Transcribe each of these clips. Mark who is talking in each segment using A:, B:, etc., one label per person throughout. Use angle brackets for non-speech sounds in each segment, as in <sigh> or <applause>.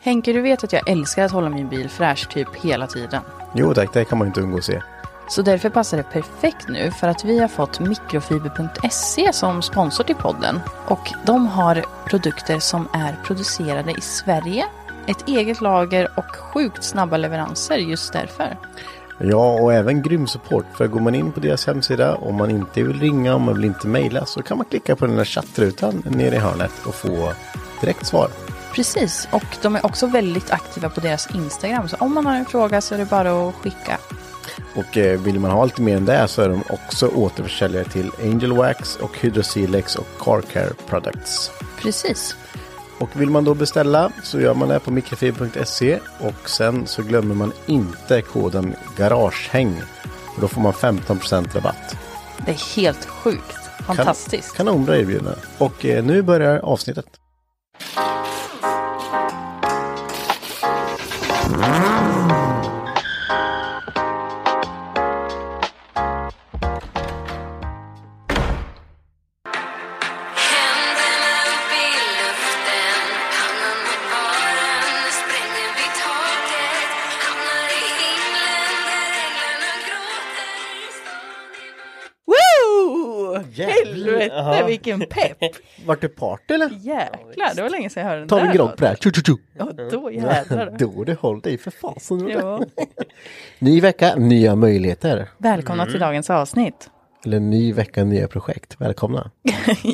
A: Henke, du vet att jag älskar att hålla min bil fräsch typ hela tiden.
B: Jo tack, det kan man inte undgå att se.
A: Så därför passar det perfekt nu för att vi har fått mikrofiber.se som sponsor till podden. Och de har produkter som är producerade i Sverige, ett eget lager och sjukt snabba leveranser just därför.
B: Ja, och även grym support. För går man in på deras hemsida, om man inte vill ringa, om man vill inte mejla, så kan man klicka på den där chattrutan nere i hörnet och få direkt svar.
A: Precis, och de är också väldigt aktiva på deras Instagram. Så om man har en fråga så är det bara att skicka.
B: Och eh, vill man ha lite mer än det så är de också återförsäljare till Angel Wax och Hydrosilex och Car Care Products.
A: Precis.
B: Och vill man då beställa så gör man det på mikrofiber.se och sen så glömmer man inte koden Garagehäng. Och då får man 15% rabatt.
A: Det är helt sjukt. Fantastiskt.
B: Kan, kanonbra erbjudande. Och eh, nu börjar avsnittet.
C: Händerna upp i luften, pannan mot baren, spränger vi taket, hamnar i himlen där änglarna gråter.
A: Woo!
B: Jävlar.
A: Helvete
B: Ja.
A: vilken
B: <laughs>
A: pepp!
B: Vart det party eller?
A: Jäklar, det var länge sedan jag hörde den
B: Ta en
A: där
B: grogg på det här. Tju, tju, tju.
A: Ja, då
B: <laughs>
A: jävlar.
B: Då det håll dig för fasen.
A: Ja.
B: <laughs> Ny vecka, nya möjligheter.
A: Välkomna
B: Mm.
A: till dagens avsnitt. <laughs>
B: Eller ny vecka, nya projekt. Välkomna.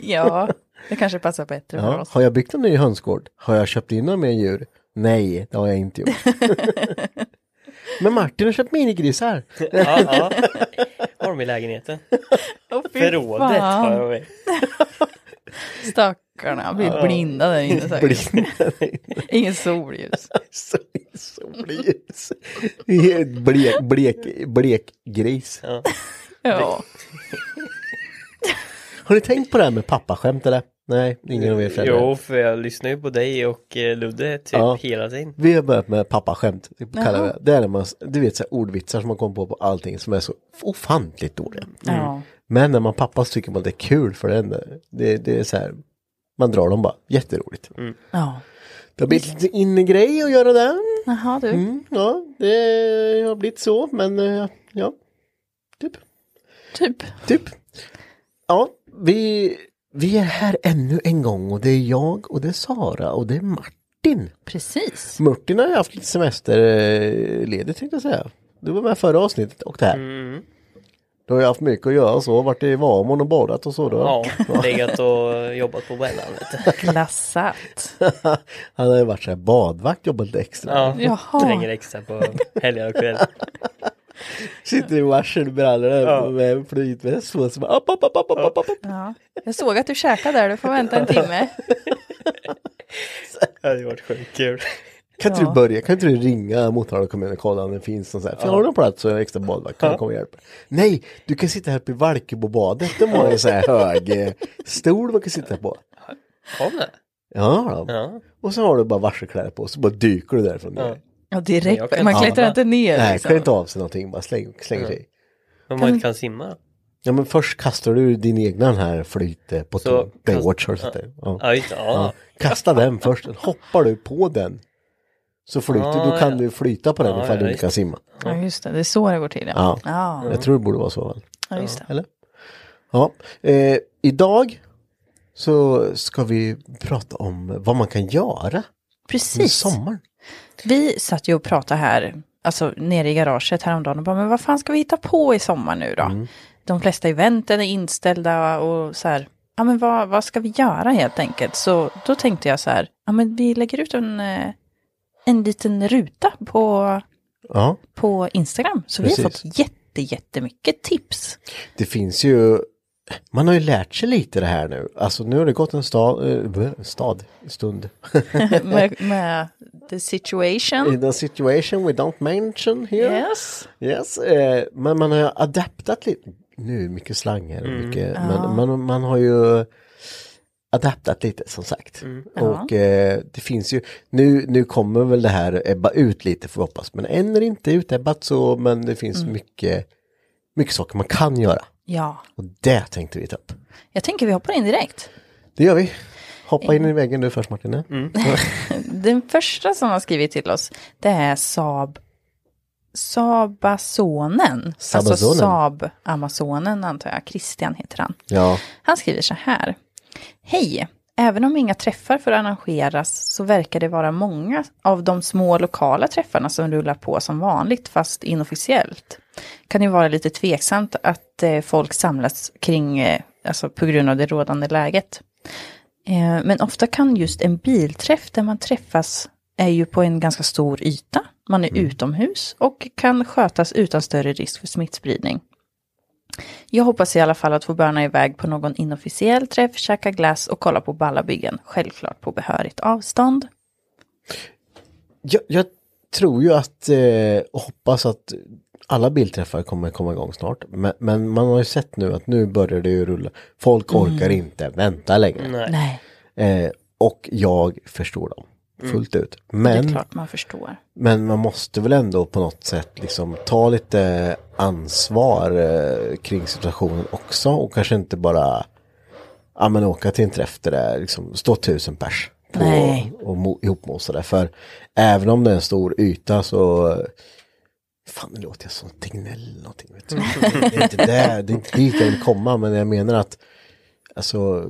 A: Ja, det kanske passar bättre för
B: Ja.
A: oss.
B: Har jag byggt en ny hönsgård? Har jag köpt in några mer djur? Nej, det har jag
A: <laughs>
B: inte gjort. Men Martin har
A: <laughs>
B: köpt minigrisar.
D: Ja, ja. Har de i lägenheten?
A: Åh, fy
D: Förrådet
A: fan.
D: har de i.
A: Stackarna blir blinda där inne
B: <laughs>
A: säkert. Ingen solljus.
B: Så- Solljus. Helt <laughs> Blek, blek, blek gris.
D: Ja.
A: Ja.
B: Har ni tänkt på det här med pappaskämt eller? Nej, ingen av er föräldrar.
D: Jo, för jag lyssnar ju på dig och eh, Ludde typ
B: Ja.
D: hela tiden.
B: Vi har börjat med pappaskämt. Det kallar vi
A: Jaha.
B: det. Det är när man, du vet så här ordvitsar som man kommer på på allting som är så ofantligt dåliga.
A: ja.
B: Men när man pappa så tycker man det är kul för den, det, det är så här, man drar dem bara, jätteroligt.
A: ja.
B: Det har blivit lite innegrej att göra det.
A: Jaha du.
B: Mm, ja, det har blivit så, men eh, ja, typ.
A: Typ.
B: Typ. Ja, vi, vi är här ännu en gång och det är jag och det är Sara och det är Martin.
A: Precis.
B: Martin har ju haft lite semesterledigt tänkte jag säga. Du var med förra avsnittet och det här.
D: Mm.
B: Du har ju haft mycket att göra så, varit i Vamon och badat och så. Då.
D: Ja, <laughs> legat och jobbat på Wellan. vet du.
A: Glassat.
B: <laughs> Han har ju varit så här badvakt, jobbat lite extra.
D: Ja,
A: Jaha.
D: tränger extra på helger och kväll.
B: Sitter i varselbrallorna med flytväst på sig. bara, app, app, app, app, app, app, app.
A: Ja. Jag såg att du käkade där, du får vänta en timme.
D: Det hade varit sjukt kul.
B: Kan inte
A: Ja.
B: du börja, kan inte du ringa Motala kommun och kolla om det finns någon sån här. För har du en plats så är jag extra badvakt, kan du komma och hjälpa? Nej, du kan sitta här uppe i Valkebobadet. De har en sån här hög eh, stol man kan sitta på.
D: Kom det?
B: Ja, då.
D: Ja.
B: Och så har du bara varselkläder på så bara dyker du därifrån.
D: ja.
B: ner.
A: Ja,
D: Jag
A: direkt.
D: kan
A: Man
D: inte
A: klättrar
D: simma.
A: inte ner.
B: Nej,
A: liksom.
B: klär inte av sig någonting, bara släng, slänger sig. i.
D: Om man inte kan simma.
B: Ja men först kastar du din egna här flyt eh, på
D: Så-
B: Baywatch
D: kast-
B: har du sett det? Ja.
D: Ja, just,
B: Ja.
D: ja.
B: Kasta den först, sen hoppar du på den. Så flyter,
D: Ja,
B: då kan
D: ja.
B: du flyta på den
D: Ja,
B: ifall
D: ja,
B: du inte
D: just
B: kan simma.
A: Ja, just det. Det är så det går till.
B: Ja.
A: Ja, ja.
B: Jag tror det borde vara så väl?
A: ja just det.
B: Eller? Ja. Eh, idag så ska vi prata om vad man kan göra i
A: Precis.
B: sommaren.
A: Vi satt ju och pratade här, alltså nere i garaget häromdagen och bara, men vad fan ska vi hitta på i sommar nu då? De flesta eventen är inställda och så här, ja men vad, vad ska vi göra helt enkelt? Så då tänkte jag så här, ja men vi lägger ut en, eh, en liten ruta på,
B: Ja.
A: på Instagram. Så vi har
B: Precis.
A: fått jätte, jättemycket tips.
B: Det finns ju, man har ju lärt sig lite det här nu. Alltså nu har det gått en stad, eh, bö- stad, stund.
A: <laughs> med, med the situation.
B: <laughs> In a situation we don't mention here.
A: Yes.
B: Yes, eh, men man har ju adaptat lite. Nu är det mycket slanger och mycket, men man, man har ju adaptat lite som sagt. Och eh, det finns ju, nu, nu kommer väl det här ebba ut lite får vi hoppas, men än är det inte utebbat så, men det finns mycket, mycket saker man kan göra.
A: Ja,
B: Och det tänkte vi ta upp.
A: jag tänker vi hoppar in direkt. <laughs>
B: Det gör vi. Hoppa in i väggen du först Martin. Mm.
A: Den första som har skrivit till oss, det är Saab Sabasonen. Alltså
B: Sabasonen.
A: Saab Amazonen antar jag. Christian heter han.
B: <laughs> Ja,
A: Han skriver så här. Hej! Även om inga träffar får arrangeras så verkar det vara många av de små lokala träffarna som rullar på som vanligt fast inofficiellt. Kan ju vara lite tveksamt att eh, folk samlas kring, eh, alltså på grund av det rådande läget. Eh, men ofta kan just en bilträff där man träffas är ju på en ganska stor yta, man är utomhus och kan skötas utan större risk för smittspridning. Jag hoppas i alla fall att få börna iväg på någon inofficiell träff, käka glass och kolla på ballabyggen. Självklart på behörigt avstånd.
B: jag, jag tror ju att eh, och hoppas att alla bilträffar kommer komma igång snart. Men, men man har ju sett nu att nu börjar det ju rulla. Folk orkar inte vänta längre.
D: Nej.
A: Mm. Nej, Mm,
B: Eh, och jag förstår dem fullt ut.
A: det är
B: Men,
A: klart man förstår.
B: men man måste väl ändå på något sätt liksom ta lite ansvar eh, kring situationen också. Och kanske inte bara ja, men åka till en träff där det är liksom, stå tusen pers. På,
A: Nej.
B: och mo, ihopmosa det. För även om det är en stor yta så Fan, nu låter jag som Tegnell eller någonting. Vet du.
A: Mm.
B: Det är inte där, det är inte dit jag vill komma, men jag menar att alltså,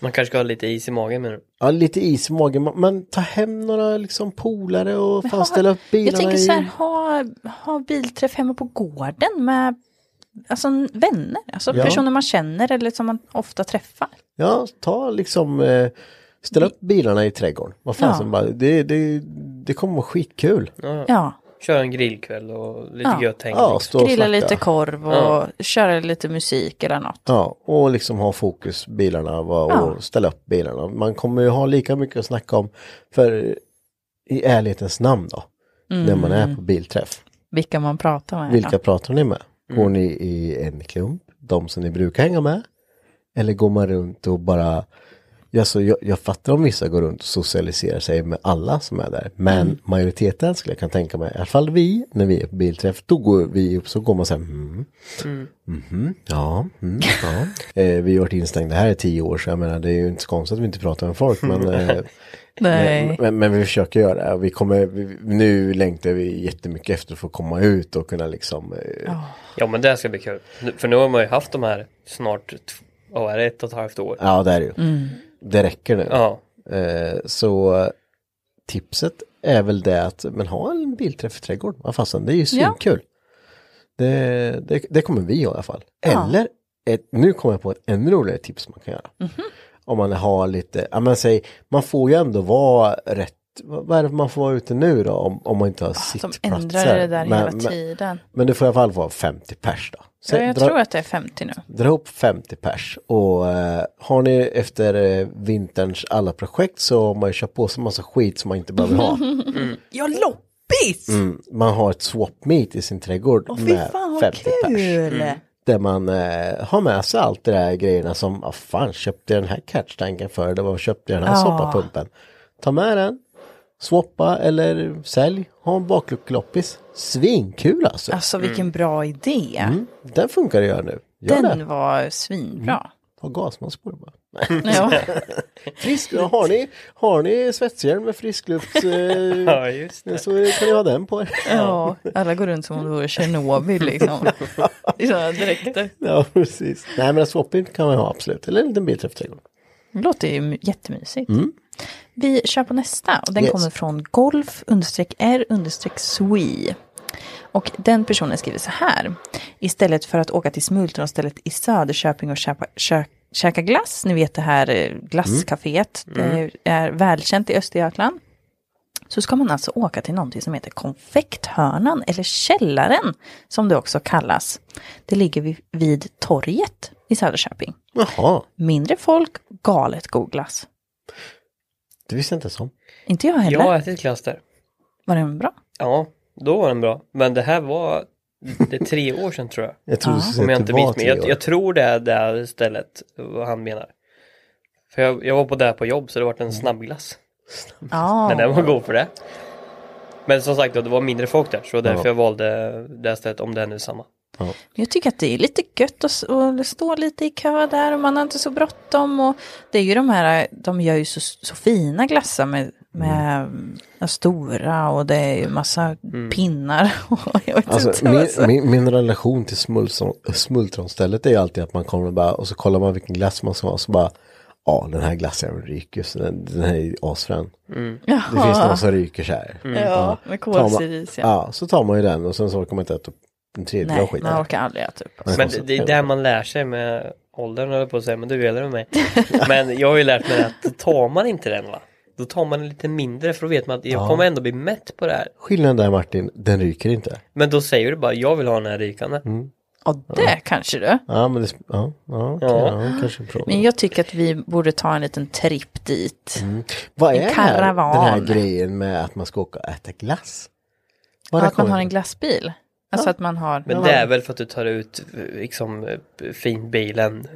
D: Man kanske ska ha lite is i magen men
B: Ja, lite is i magen. Men- Men ta hem några liksom polare och
A: Men
B: fan
A: ha-
B: ställa upp bilarna
A: Jag tänker
B: i-
A: så här, ha, ha bilträff hemma på gården med alltså, vänner. Alltså
B: Ja.
A: personer man känner eller som man ofta träffar.
B: Ja, ta liksom, eh, ställa upp bilarna i trädgården. Vad fan
A: Ja.
B: som bara, det, det, det kommer vara skitkul.
A: Ja,
D: köra en grillkväll och lite
A: Ja.
D: gött häng.
B: Ja,
D: liksom.
B: stå och
A: grilla
B: snacka.
A: lite korv och köra lite musik eller något.
B: Ja, och liksom ha fokus bilarna va, och
A: Ja.
B: ställa upp bilarna. Man kommer ju ha lika mycket att snacka om, för i ärlighetens namn då, när man
A: Mm.
B: är på bilträff.
A: Vilka man pratar med.
B: Vilka
A: ja. Mm.
B: pratar ni med? Går ni i en klump, de som ni brukar hänga med? Eller går man runt och bara, alltså, jag, jag fattar om vissa går runt och socialiserar sig med alla som är där, men
A: Mm.
B: majoriteten skulle jag kunna tänka mig, i alla fall vi, när vi är på bilträff, då går vi upp så går man så här, mm, mhm, ja, mm, ja.
A: <laughs>
B: Eh, vi har varit instängda här i tio år, så jag menar det är ju inte så konstigt att vi inte pratar med
A: <laughs>
B: folk, men eh,
A: Nej.
B: men, men, men vi försöker göra det. Vi kommer, vi, nu längtar vi jättemycket efter att få komma ut och kunna liksom... eh,
D: Ja men det ska bli kul. Nu- För nu har man ju haft de här snart, t- vad är det, ett och ett halvt år.
B: Ja, det är det ju. Det räcker nu.
D: Ja.
B: Eh, så tipset är väl det att men ha en bilträff i trädgården. Vad fasen, det är ju svinkul. Det, det, det kommer vi göra i alla fall. Eller, ett, nu kommer jag på ett ännu roligare tips man kan göra.
A: Mhm.
B: Om man har lite, ja men säg, man får ju ändå vara rätt vad vad är det man får vara ute nu då om, om man inte har
A: Ah, De
B: sittplatser?
A: ändrar det där
B: Men-
A: hela
B: men-
A: tiden.
B: Men det får i alla fall vara 50 pers då.
A: Ja, jag
B: dra,
A: tror att det är 50 nu.
B: dra upp 50 pers och eh, har ni efter eh, vinterns alla projekt så har man ju köpt på sig massa skit som man inte behöver ha.
A: Mm.
B: Mm.
A: Ja, loppis!
B: Man har ett swap meet i sin trädgård
A: Åh, fy
B: med
A: fan vad
B: 50 pers. Mm.
A: kul!
B: Där man eh, har med sig allt det där grejerna som, vad fan köpte jag den här catchtanken för? Eller vad köpte jag den här
A: Ja.
B: soppapumpen? Ta med den, swappa eller sälj, ha en bakluckeloppis. Svinkul alltså.
A: Alltså vilken bra idé.
B: Mm, den funkar att göra nu. Gör det.
A: Den var svinbra.
B: Ha gasmask på det bara. <laughs>
A: Ja.
B: Frisk, har, ni, har ni svetshjälm med
D: <laughs>
B: friskluft eh,
D: Ja, just det.
B: så kan ni ha den på er.
A: ja, alla går runt som om det vore Tjernobyl
B: <laughs>
A: liksom. I sådana dräkter.
B: Ja, precis. Nej, men en swapping kan man ha absolut. Eller en liten bilträff till trädgården.
A: Det låter ju m- jättemysigt. Vi kör på nästa och den
B: Yes.
A: kommer från golf-r-swe. Och den personen skriver så här. Istället för att åka till smultronstället i Söderköping och köpa, kö, käka glass, ni vet det här eh, glasscaféet, det är välkänt i Östergötland. Så ska man alltså åka till någonting som heter Konfekthörnan eller Källaren som det också kallas. Det ligger vid, vid torget i Söderköping.
B: Jaha,
A: Mindre folk, galet god glass.
B: det visste jag inte ens om.
A: Inte jag
D: Jag
A: heller.
D: har ätit glass där.
A: Var den
D: <laughs>
A: bra?
D: Ja, då var den bra. Men det här var, det är tre år sedan tror jag.
B: Jag trodde
A: Ja.
B: du skulle säga
D: Om jag
B: att
D: inte
B: det var
D: minns mig.
B: tre
D: Jag,
B: år.
D: jag tror det är det här stället vad han menar. För jag, jag var på där på jobb så det var
B: Mm.
D: en snabbglass.
A: Ja.
D: Men den var god för det. Men som sagt då, det var mindre folk där så därför
B: Ja.
D: jag valde det här stället om det är nu samma.
A: Jag tycker att det är lite gött att s- att stå lite i kö där och man har inte så bråttom. Och det är ju de här, de gör ju så, så fina glassar med, med
D: Mm.
A: eh, stora och det är ju massa pinnar. <laughs> Och jag vet
B: Alltså,
A: inte,
B: min,
A: alltså.
B: min, min relation till smultron, smultronstället är ju alltid att man kommer och, bara, och så kollar man vilken glass man ska ha. Så bara, ja den här glassen ryker, så den, den här är asfrän. Det finns någon som ryker så här.
D: Mm.
A: Ja, med
B: Tar man-
A: kolsyris ja.
B: Ja, så tar man ju den och sen så orkar man inte äta upp en tredjedel av
A: Nej,
B: skiten.
A: man orkar aldrig äta upp.
B: Nej.
D: Men det, det är där man lär sig med åldern höll jag på att säga, men du är äldre
B: <laughs>
D: än mig. Men jag har ju lärt mig att tar man inte den va, då tar man en lite mindre för då vet man att jag kommer ändå bli mätt på det här.
B: Skillnaden där Martin, den ryker inte.
D: Men då säger du bara jag vill ha den här rykande.
A: Och det kanske du.
B: Ja, men det, ja, ja, okej,
D: Ja.
B: ja, kanske en fråga.
A: Men jag tycker att vi borde ta en liten tripp dit.
B: Mm. Vad
A: en
B: är det här, den här
A: karavan.
B: grejen med att man ska åka och äta glass? Var
A: Ja, att man
B: kommer
A: har en
B: det?
A: glassbil. Alltså att man har...
D: Men det är väl för att du tar ut eh, liksom eh, fint bilen,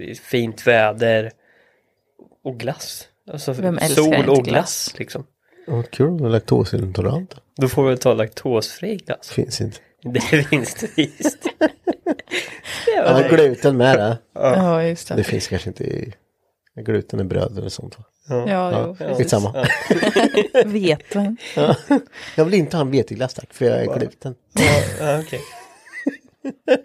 D: eh, fint väder och glass. Alltså
A: Vem älskar
D: sol
A: inte
D: och glass,
A: glass?
D: liksom.
B: Vad kul med laktosintolerant.
D: Då får vi ta laktosfri glass.
B: Finns inte.
D: Det är vinstvisst.
B: Ja, Alltså, gluten med det.
A: Ja, just
B: Det
A: det.
B: finns kanske inte i gluten i bröd eller sånt. va?
A: Ja, jo, precis.
B: Skitsamma.
A: Vet.
B: Jag vill inte ha en veteglass tack, för jag är gluten.
D: <laughs> ja, okej.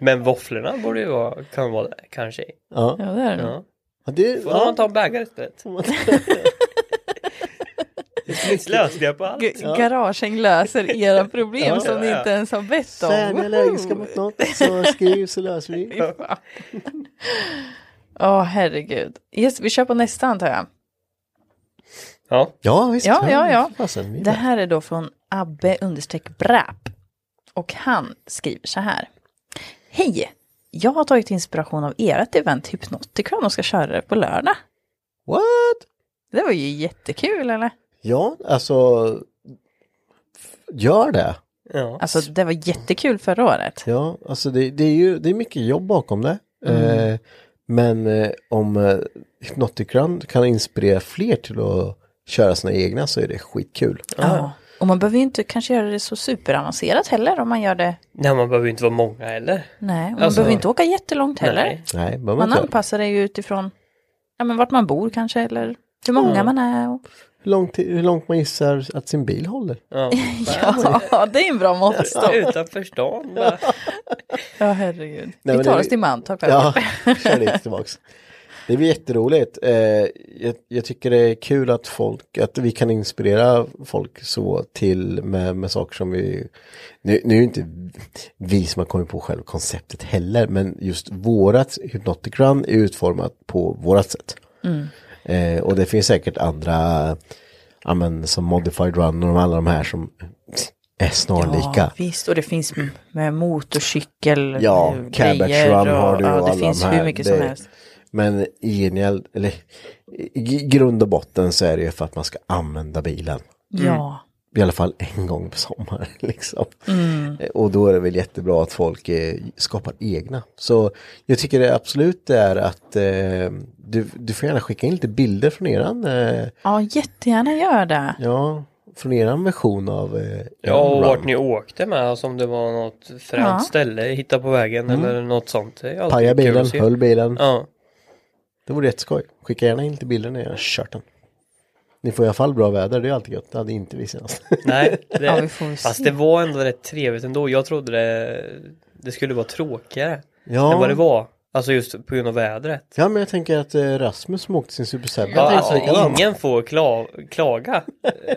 D: <laughs> Men våfflorna borde ju vara, kan vara där, kanske.
A: Ja, det är det.
D: Ja.
B: Ja, det,
D: Får man
B: ja.
D: ta en bägare istället? <laughs> Det finns lösningar på allt.
A: G- Garagen löser era problem som ni
D: Ja.
A: inte ens har bett
B: Så är ni
A: om.
B: allergiska mot något så skriv så löser vi.
A: Ja, herregud. Yes, vi kör på nästa antar jag.
D: Ja,
B: Ja, visst.
A: Ja, ja, ja.
B: Fasen, vi
A: Det
B: är
A: här är då från Abbe understreck Brap. Och han skriver så här. Hej! Jag har tagit inspiration av ert event Hypnoticon och ska köra det på lördag.
B: What?
A: Det var ju jättekul eller?
B: Ja, alltså. f- Gör det.
D: ja.
A: Alltså det var jättekul förra året.
B: Ja, alltså det, det är ju det är mycket jobb bakom det. Eh, men eh, om eh, Hypnoticrun kan inspirera fler till att köra sina egna så är det skitkul.
A: Ja. Och man behöver ju inte kanske göra det så superavancerat heller om man gör det.
D: Nej, man behöver ju inte vara många heller.
A: Nej, och man
D: Alltså-
A: behöver inte åka jättelångt heller.
D: Nej.
B: Nej, behöver man
A: Man
B: inte.
A: anpassar det ju utifrån ja, men vart man bor kanske eller hur många
B: Mm.
A: man är. Och...
B: Hur långt, hur långt man gissar att sin bil håller.
D: Ja.
A: <laughs> Ja, det är en bra måttstock.
D: Utanför stan
A: <laughs>
D: bara.
A: Ja, herregud.
B: men
A: Vi
B: det
A: tar
B: är-
A: oss till Mantorp. här.
B: Ja, <laughs> kör lite tillbaks. Det blir jätteroligt. Eh, jag, jag tycker det är kul att folk, att vi kan inspirera folk så till med, med saker som vi, nu, nu är det inte vi som har kommit på själva konceptet heller, men just vårat Hypnotic Run är utformat på vårat sätt. Eh, och det finns säkert andra, ja men som Modified Run och de- alla de här som är snarlika.
A: Ja, visst. Och det finns m- med motorcykel
B: Ja,
A: eh,
B: Cabbage
A: grejer
B: Run har du och,
A: ja, det
B: alla
A: finns
B: de här.
A: hur mycket som
B: Det-
A: helst.
B: Men i, gengäld- eller, i i grund och botten så är det ju för att man ska använda bilen.
A: Ja,
B: i alla fall en gång på sommaren. <laughs> Liksom.
A: Mm.
B: Och då är det väl jättebra att folk eh, skapar egna. Så jag tycker det absolut är att eh, du, du får gärna skicka in lite bilder från eran, eh,
A: Ja, jättegärna gör det.
B: ja, från eran version av eh,
D: Ja, och
B: Run.
D: vart ni åkte med, alltså om det var något fränt
A: Ja.
D: ställe, hitta på vägen eller något sånt. Det är alltid
B: Mm. Paja
D: kul att
B: bilen,
D: se.
B: höll bilen.
D: Ja,
B: Det vore jätteskoj. Skicka gärna in lite bilder när jag har kört den. Ni får i alla fall bra väder, det är alltid gött. Det hade inte vi senast.
D: nej. Det,
A: Ja, vi får väl se.
D: fast det var ändå rätt trevligt ändå. Jag trodde det, det skulle vara tråkigare
B: Ja. <laughs>
D: än vad det var. Alltså just på grund av vädret.
B: Ja, men jag tänker att eh, Rasmus som åkte sin Super 7.
D: Ja,
B: tänkte
D: alltså
B: likadant.
D: ingen får kla- klaga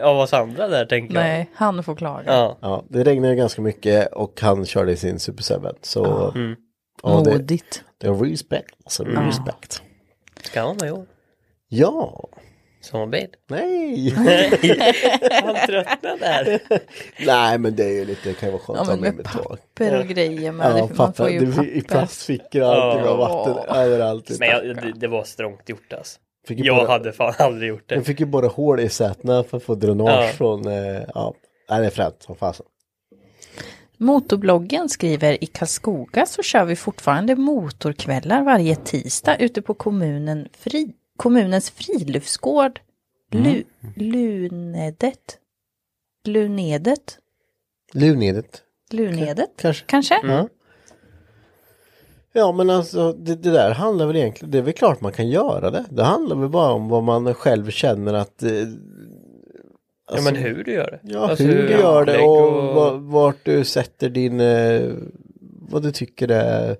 D: av oss andra där tänker jag.
A: Nej, han får klaga.
D: Ja.
B: Ja, det regnade ganska mycket och han körde sin Super 7. Så ja,
D: Mm.
B: det,
A: Modigt.
B: det är respect. Alltså, respect.
D: Ska han ha gjort?
B: Ja,
D: Sommarbil?
B: nej. <laughs>
D: Han tröttnade där.
B: nej, men det är ju lite, det kan ju vara skönt
A: Ja,
B: att ha
A: men
B: med
A: med
B: mig tåg.
A: papper och grejer. Men
B: Ja,
A: det, man
B: papper,
A: får ju
B: det,
A: papper.
B: i plastfickor och allting och vatten
A: Åh.
B: överallt.
D: Men jag, det, det var strångt gjort alltså.
B: Fick ju
D: Jag
B: bara-
D: hade fan aldrig gjort
B: Den
D: det.
B: fick ju bara hål i sätena för att få dränage
D: Ja.
B: från, eh, ja, nej, det är fränt som fasen.
A: Motorbloggen skriver i Karlskoga så kör vi fortfarande motorkvällar varje tisdag ute på kommunen fri, kommunens friluftsgård
D: Mm.
A: Lu, Lunedet. Lunedet.
B: Lunedet.
A: Lunedet
B: Kanske.
A: kanske?
B: Ja men alltså det, det där handlar väl egentligen, det är väl klart man kan göra det. Det handlar väl bara om vad man själv känner att, eh,
D: Ja men hur du gör det.
B: ja
D: Alltså,
B: hur du gör det
D: anlägg
B: och, va- vart du sätter din, eh, vad du tycker är,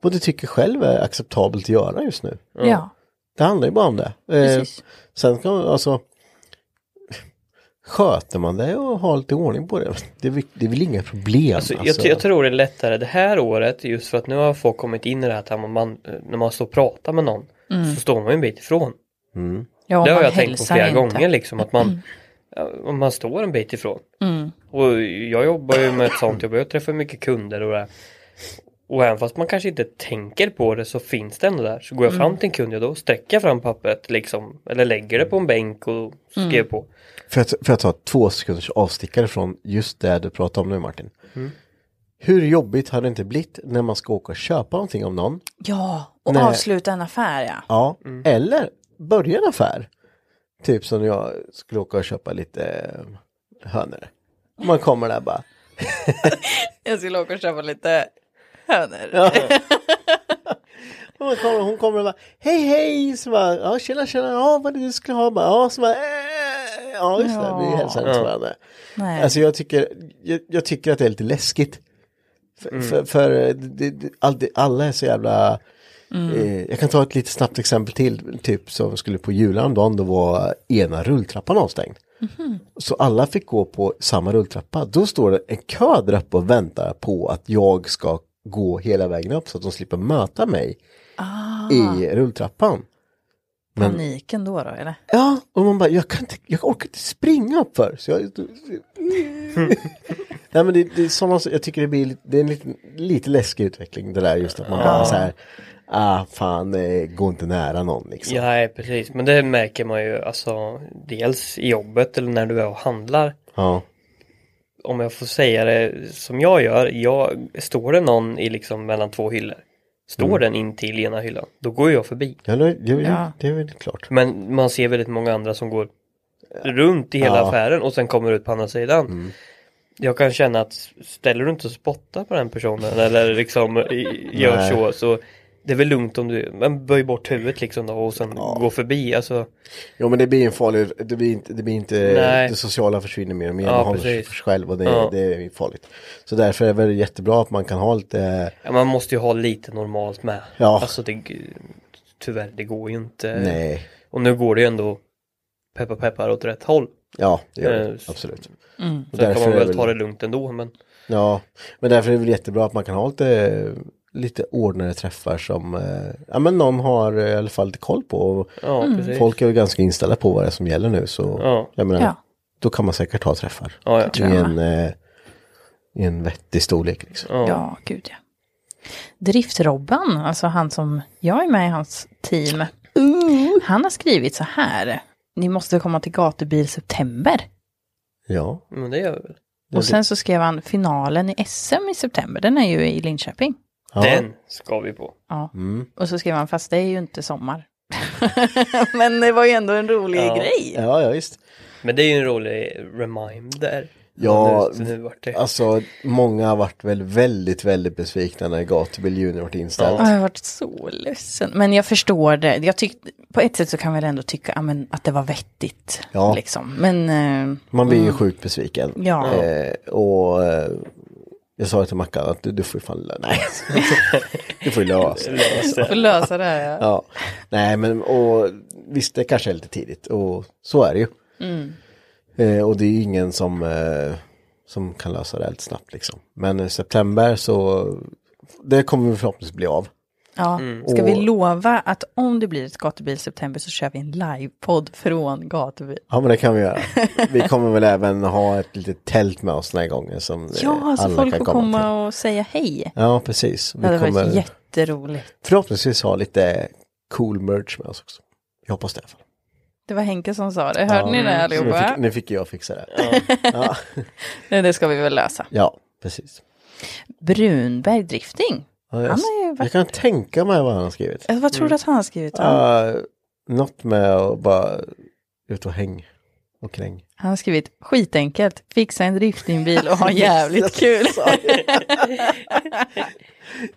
B: vad du tycker själv är acceptabelt att göra just nu.
A: Ja.
B: Det handlar ju bara om det. Eh,
A: precis.
B: sen kan man alltså Sköter man det och har lite ordning på det. Det är, väl- det är väl inga problem.
D: Alltså, Jag, jag tror det är lättare det här året just för att nu har folk kommit in i det här att man, man, när man står och pratar med någon så står man ju en bit ifrån.
A: Mm. Ja,
D: det har
A: man
D: jag tänkt på
A: hälsar
D: flera
A: inte. Mm.
D: gånger liksom att man, ja, om man står en bit ifrån. Och jag jobbar ju med ett sånt jobb, jag träffar mycket kunder och det här. Och även fast man kanske inte tänker på det så finns det ändå där. Så går jag
A: Mm.
D: fram till en kund, ja då sträcker jag fram pappret liksom. Eller lägger det på en bänk och skriver
A: Mm.
D: på.
B: För att, för att ta två sekunders avstickare från just det du pratar om nu Martin.
D: Mm.
B: Hur jobbigt har det inte blivit när man ska åka och köpa någonting av någon?
A: Ja, och
B: Nej.
A: avsluta en affär ja.
B: Ja, eller börja en affär. Typ som när jag skulle åka och köpa lite eh, hönor. Man kommer där bara.
A: Jag skulle åka och köpa lite hönor.
B: Och man kommer, hon kommer och bara hej hej, så bara ja tjena tjena, ja vad är det du skulle ha, bara, ja så bara "Eh, ja just det, vi hälsar inte varandra.
A: Nej.
B: Alltså jag tycker, jag, jag tycker att det är lite läskigt. För, för, för det, det, all, det, alla är så jävla, eh, jag kan ta ett lite snabbt exempel till, typ som skulle på julafton, då var ena rulltrappan avstängd. Så alla fick gå på samma rulltrappa. Då står det en kö där uppe och väntar på att jag ska gå hela vägen upp så att de slipper möta mig i rulltrappan.
A: Paniken då då eller?
B: Ja, och man bara, jag, kan inte, jag orkar inte springa upp för. Så
D: <laughs>
B: jag... Nej men det, det är sådana, jag tycker det blir lite- det är en liten, lite läskig utveckling det där just att man bara så här, ah fan, eh, gå inte nära någon liksom.
D: Ja, nej, precis, men det märker man ju alltså dels i jobbet eller när du är och handlar.
B: Ja.
D: om jag får säga det som jag gör, jag, står det någon i liksom mellan två hyllor, står
B: Mm.
D: den in till ena hyllan, då går jag förbi.
B: Ja, det, det,
A: Ja.
B: det är väl klart.
D: Men man ser väldigt många andra som går runt i hela
B: Ja. Mm.
D: affären och sen kommer ut på andra sidan. Jag kan känna att ställer du inte och spottar på den personen eller liksom i- gör
B: Nej.
D: så, så det är väl lugnt om du, men böj bort huvudet liksom då och sen gå förbi. Alltså,
B: Jo men det blir en farlig, det blir inte, det, blir inte
D: Nej.
B: det sociala försvinner mer och mer,
D: Ja,
B: man håller sig
D: precis.
B: för sig själv och det,
D: Ja.
B: det är farligt. Så därför är det väl jättebra att man kan ha lite eh,
D: ja, man måste ju ha lite normalt med.
B: Ja.
D: Alltså eh, det, tyvärr, det går ju inte.
B: Nej,
D: Och nu går det ju ändå peppa peppar åt rätt håll.
B: ja det gör det,
D: Eh,
B: absolut. Och
D: Så kan
B: därför
D: man
B: är
D: väl
B: väl-
D: ta det lugnt ändå. Men
B: Ja, men därför är det väl jättebra att man kan ha lite, lite ordnade träffar som eh, ja, men någon har eh, i alla fall lite koll på. Och
D: ja, precis.
B: Folk är väl ganska inställda på vad det är som gäller nu så
D: Ja.
B: jag menar,
A: Ja.
B: då kan man säkert ha träffar
D: Ja, ja.
B: i, en, eh, i en vettig storlek. Liksom.
D: Ja.
A: Ja, gud ja. Drift-Robban, alltså han som jag är med i hans team. Han har skrivit så här. Ni måste komma till gatubil september.
B: Ja.
D: Men det gör vi väl.
A: Och sen så skrev han finalen i SM i september. Den är ju i Linköping.
B: ja.
D: Den ska vi på.
A: Ja. Och så skrev han, fast det är ju inte sommar. <laughs> Men det var ju ändå en rolig
D: Ja.
A: grej.
B: Ja, ja visst.
D: Men det är ju en rolig reminder.
B: Ja,
D: nu, så nu vart det.
B: Alltså, många har varit väl väldigt, väldigt besvikna när Gatubil Junior varit inställd.
A: Ja, jag har varit så ledsen. Men jag förstår det. Jag tyck, på ett sätt så kan man väl ändå tycka ja, men, att det var vettigt.
B: Ja.
A: Liksom. Men eh,
B: Man blir ju sjukt besviken.
A: Ja.
B: Eh, och eh, jag sa till Mackan att du, du får ju fan, lö- nej, <laughs> du får ju lösa det.
A: får lösa det här. Ja.
B: Ja, nej men och visst det kanske är lite tidigt och så är det ju.
A: Mm.
B: Eh, och det är ju ingen som, eh, som kan lösa det helt snabbt liksom. Men i september så, det kommer vi förhoppningsvis bli av.
A: Ska vi
B: Och-
A: lova att om det blir ett gatubil i september så kör vi en livepodd från gatubil?
B: Ja men det kan
A: <laughs>
B: vi göra. Vi kommer väl även ha ett litet tält med oss den här gången som eh,
A: Ja, så
B: alla
A: folk
B: kan
A: får
B: komma
A: komma
B: till.
A: och säga hej.
B: Ja precis. Vi
A: Det hade
B: kommer
A: varit jätteroligt.
B: förhoppningsvis ha lite cool merch med oss också. Jag hoppas det i alla fall.
A: Det var Henke som sa det. Hörde ni det
B: Så Nu
A: allihopa?
B: fick, nu fick jag fixa det.
A: Nej, det ska vi väl lösa.
B: Ja, precis.
A: Brunberg Drifting.
B: Ja, jag,
A: Han har ju
B: jag
A: varit...
B: kan tänka mig vad han har skrivit.
A: Alltså, Vad tror du att han har skrivit? om?
B: Uh, något med att bara ut och häng och kräng.
A: Han har skrivit skitenkelt, fixa en driftingbil
B: <laughs>
A: och ha jävligt kul.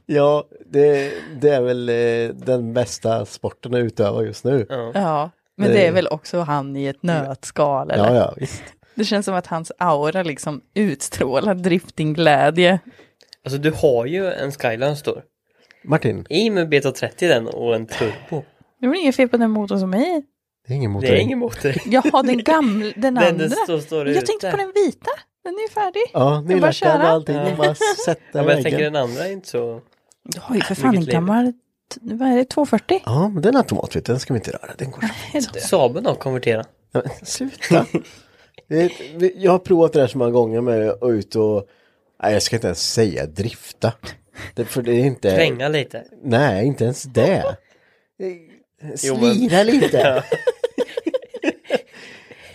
B: Ja, det, det är väl eh, den bästa sporten att utöva just nu.
A: <laughs> Ja, men det är väl också han i ett nötskal? Eller?
B: Ja, ja, visst.
A: Det känns som att hans aura liksom utstrålar driftingglädje.
D: Alltså du har ju en Skyline Store.
B: Martin,
D: I med Beta 30 den och en turbo.
A: Det var inget fel på den motorn som är i.
B: det är ingen motor.
D: Det är ingen motor.
A: Jaha, den gamla, den
D: Den
A: andra.
D: som står
A: jag tänkte
D: ute.
A: på den vita. Den är ju färdig.
B: Ja,
A: Det är bara att
B: nylackad och
A: köra.
B: allting. Ja. Bara sätta
D: Ja, men jag tänker
B: väggen.
D: den andra är inte så...
A: Du har ju för fan en
D: Vilket liv.
A: gammal, t- vad är det, 240?
B: Ja, men den automatvitt, den ska vi inte röra. Den går så
D: Saben har konverterat.
B: Ja, men Sluta. Det är ett- det- jag har provat det där så många gånger med att ut och, nej jag ska inte ens säga drifta. Det, för det är inte,
D: Kränga lite.
B: nej inte ens det.
D: <laughs> Jo, men-
B: Slira
D: <laughs>
B: lite. <laughs>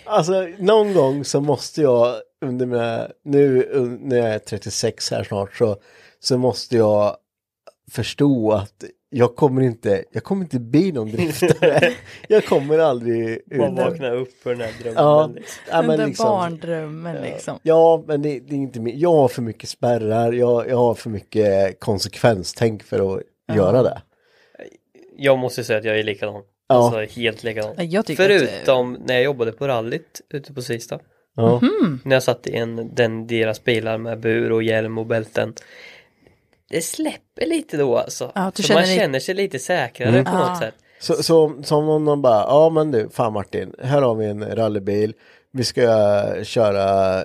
B: Alltså någon gång så måste jag under mina, nu un- när jag är 36 här snart så, så måste jag förstå att jag kommer inte, jag kommer inte bli någon
D: <laughs>
B: driftare. jag kommer aldrig
D: Bara
B: ut.
D: vakna upp för den här drömmen.
B: Ja, ja
A: Den
B: men
A: där
B: liksom.
A: barndrömmen liksom.
B: Ja, men det, det är inte min, jag har för mycket spärrar, jag, jag har för mycket konsekvenstänk för att göra det.
D: Jag måste säga att jag är likadan.
B: Ja.
D: Alltså helt likadan.
A: Ja, jag tycker att-
D: Förutom när jag jobbade på rallyt ute på Sista.
B: Ja.
A: Mhm.
D: När jag satt i en, den, deras bilar med bur och hjälm och bälten. Det släpper lite då alltså.
A: Ja, du
D: För
A: känner
D: man
A: dig-
D: känner sig lite säkrare
B: Mm.
D: på något sätt.
B: Så, så, så om någon bara, ja men du, fan Martin, här har vi en rallybil, vi ska köra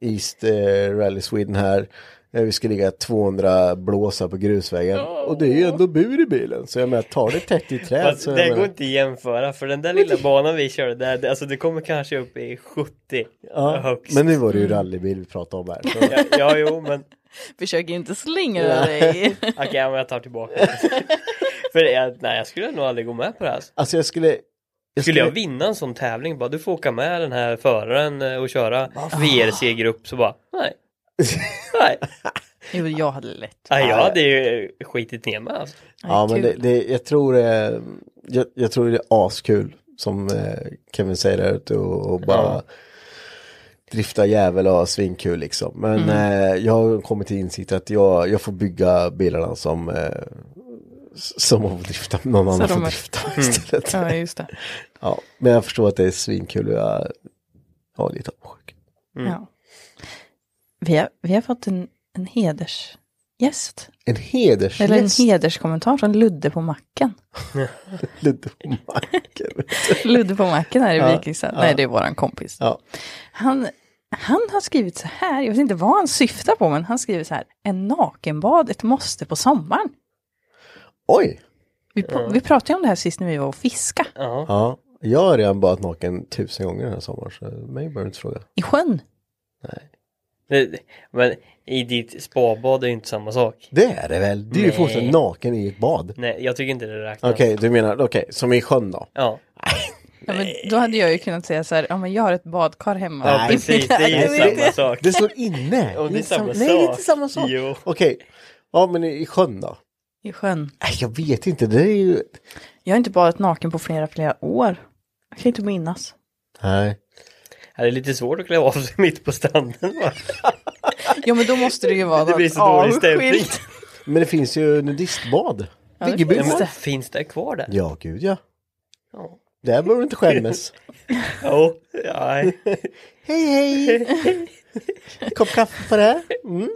B: East eh, Rally Sweden här, Eh, vi ska ligga 200 blåsa på grusvägen. Och det är ju ändå bur i bilen, så jag menar, tar det tätt
D: <laughs>
B: i träd
D: Fast
B: så jag
D: Alltså, det
B: menar,
D: går inte att jämföra för den där lilla banan vi körde där, det- alltså det kommer kanske upp i 70
B: ja,
D: högst. Mm.
B: Men nu var det ju rallybil vi pratade om här. Så.
D: <laughs> Ja, ja, jo men
A: Försök inte slingra dig.
D: okej, men jag tar tillbaka
B: <laughs>
D: det. För jag, nej, jag skulle nog aldrig gå med på det här.
B: Alltså jag skulle,
D: Skulle jag vinna en sån tävling, bara du får åka med den här föraren eh, och köra VRC-grupp, så bara nej. nej.
A: Jo, jag hade lätt.
D: <laughs> Nej, jag hade ju eh, skitit ner mig alltså.
B: Ja, men det,
A: kul.
B: det, jag, tror, det- jag, jag tror det är askul som eh, Kevin säger där ute och, och bara drifta jävel och ha svinkul liksom. Men
A: Mm.
B: eh, jag har kommit till insikt att jag, jag får bygga bilarna som eh, s- som man får drifta, någon annan
A: de
B: får
A: är- Mm.
B: drifta istället.
A: Ja, just det.
B: Ja, men jag förstår att det är svinkul och jag, jag är lite avundsjuk.
A: Ja. Vi, har, vi har fått en, en hedersgäst.
B: En heders...
A: Eller en hederskommentar från Ludde på macken.
B: Lite på
A: <laughs>
B: marken.
A: Ludde på macken här i Vikingstad. Nej, det är våran kompis.
B: Ja.
A: Han, han har skrivit så här, jag vet inte vad han syftar på, men han skriver så här, en nakenbad, ett måste på sommaren.
B: Oj!
A: Vi, pr- vi pratade ju om det här sist när vi var och fiska
B: Ja, jag har redan badat naken tusen gånger den här sommaren så mig behöver du inte fråga.
A: i sjön.
D: Det- Men i ditt spabad är ju inte samma sak.
B: Det är det väl? Du är ju
D: Nej.
B: fortfarande naken i ett bad.
D: Nej, jag tycker inte det räknas.
B: Okej, du menar, okej, som i sjön då?
D: Ja.
A: Ja, men då hade jag ju kunnat säga så här, ja men jag har ett badkar hemma.
B: Ja,
A: Det är
D: precis, det är ju
A: kläder.
B: Nej,
D: samma sak.
B: Det står inne.
D: Ja, det är samma
B: Nej, det är
D: sak.
B: inte samma sak.
D: Jo.
B: Okej. Ja, men i sjön då?
A: I sjön.
B: Nej, Jag vet inte, det är ju...
A: Jag har inte badat naken på flera, flera år. Jag kan inte minnas.
B: Nej.
D: Ja, Det är lite svårt att klä av sig mitt på stranden. va?
A: Ja men då måste det ju vara
D: Det blir
A: något
D: så dålig stämning.
A: avskilt.
B: Men det finns ju nudistbad.
A: Ja, det
B: Viggelby.
D: Ja,
A: finns
D: men
A: det.
D: finns det kvar där?
B: Ja, gud ja.
D: Ja.
B: Där behöver du inte skämmas.
D: Jo, nej.
B: hej, hej! Kopp kaffe på det här. Mm.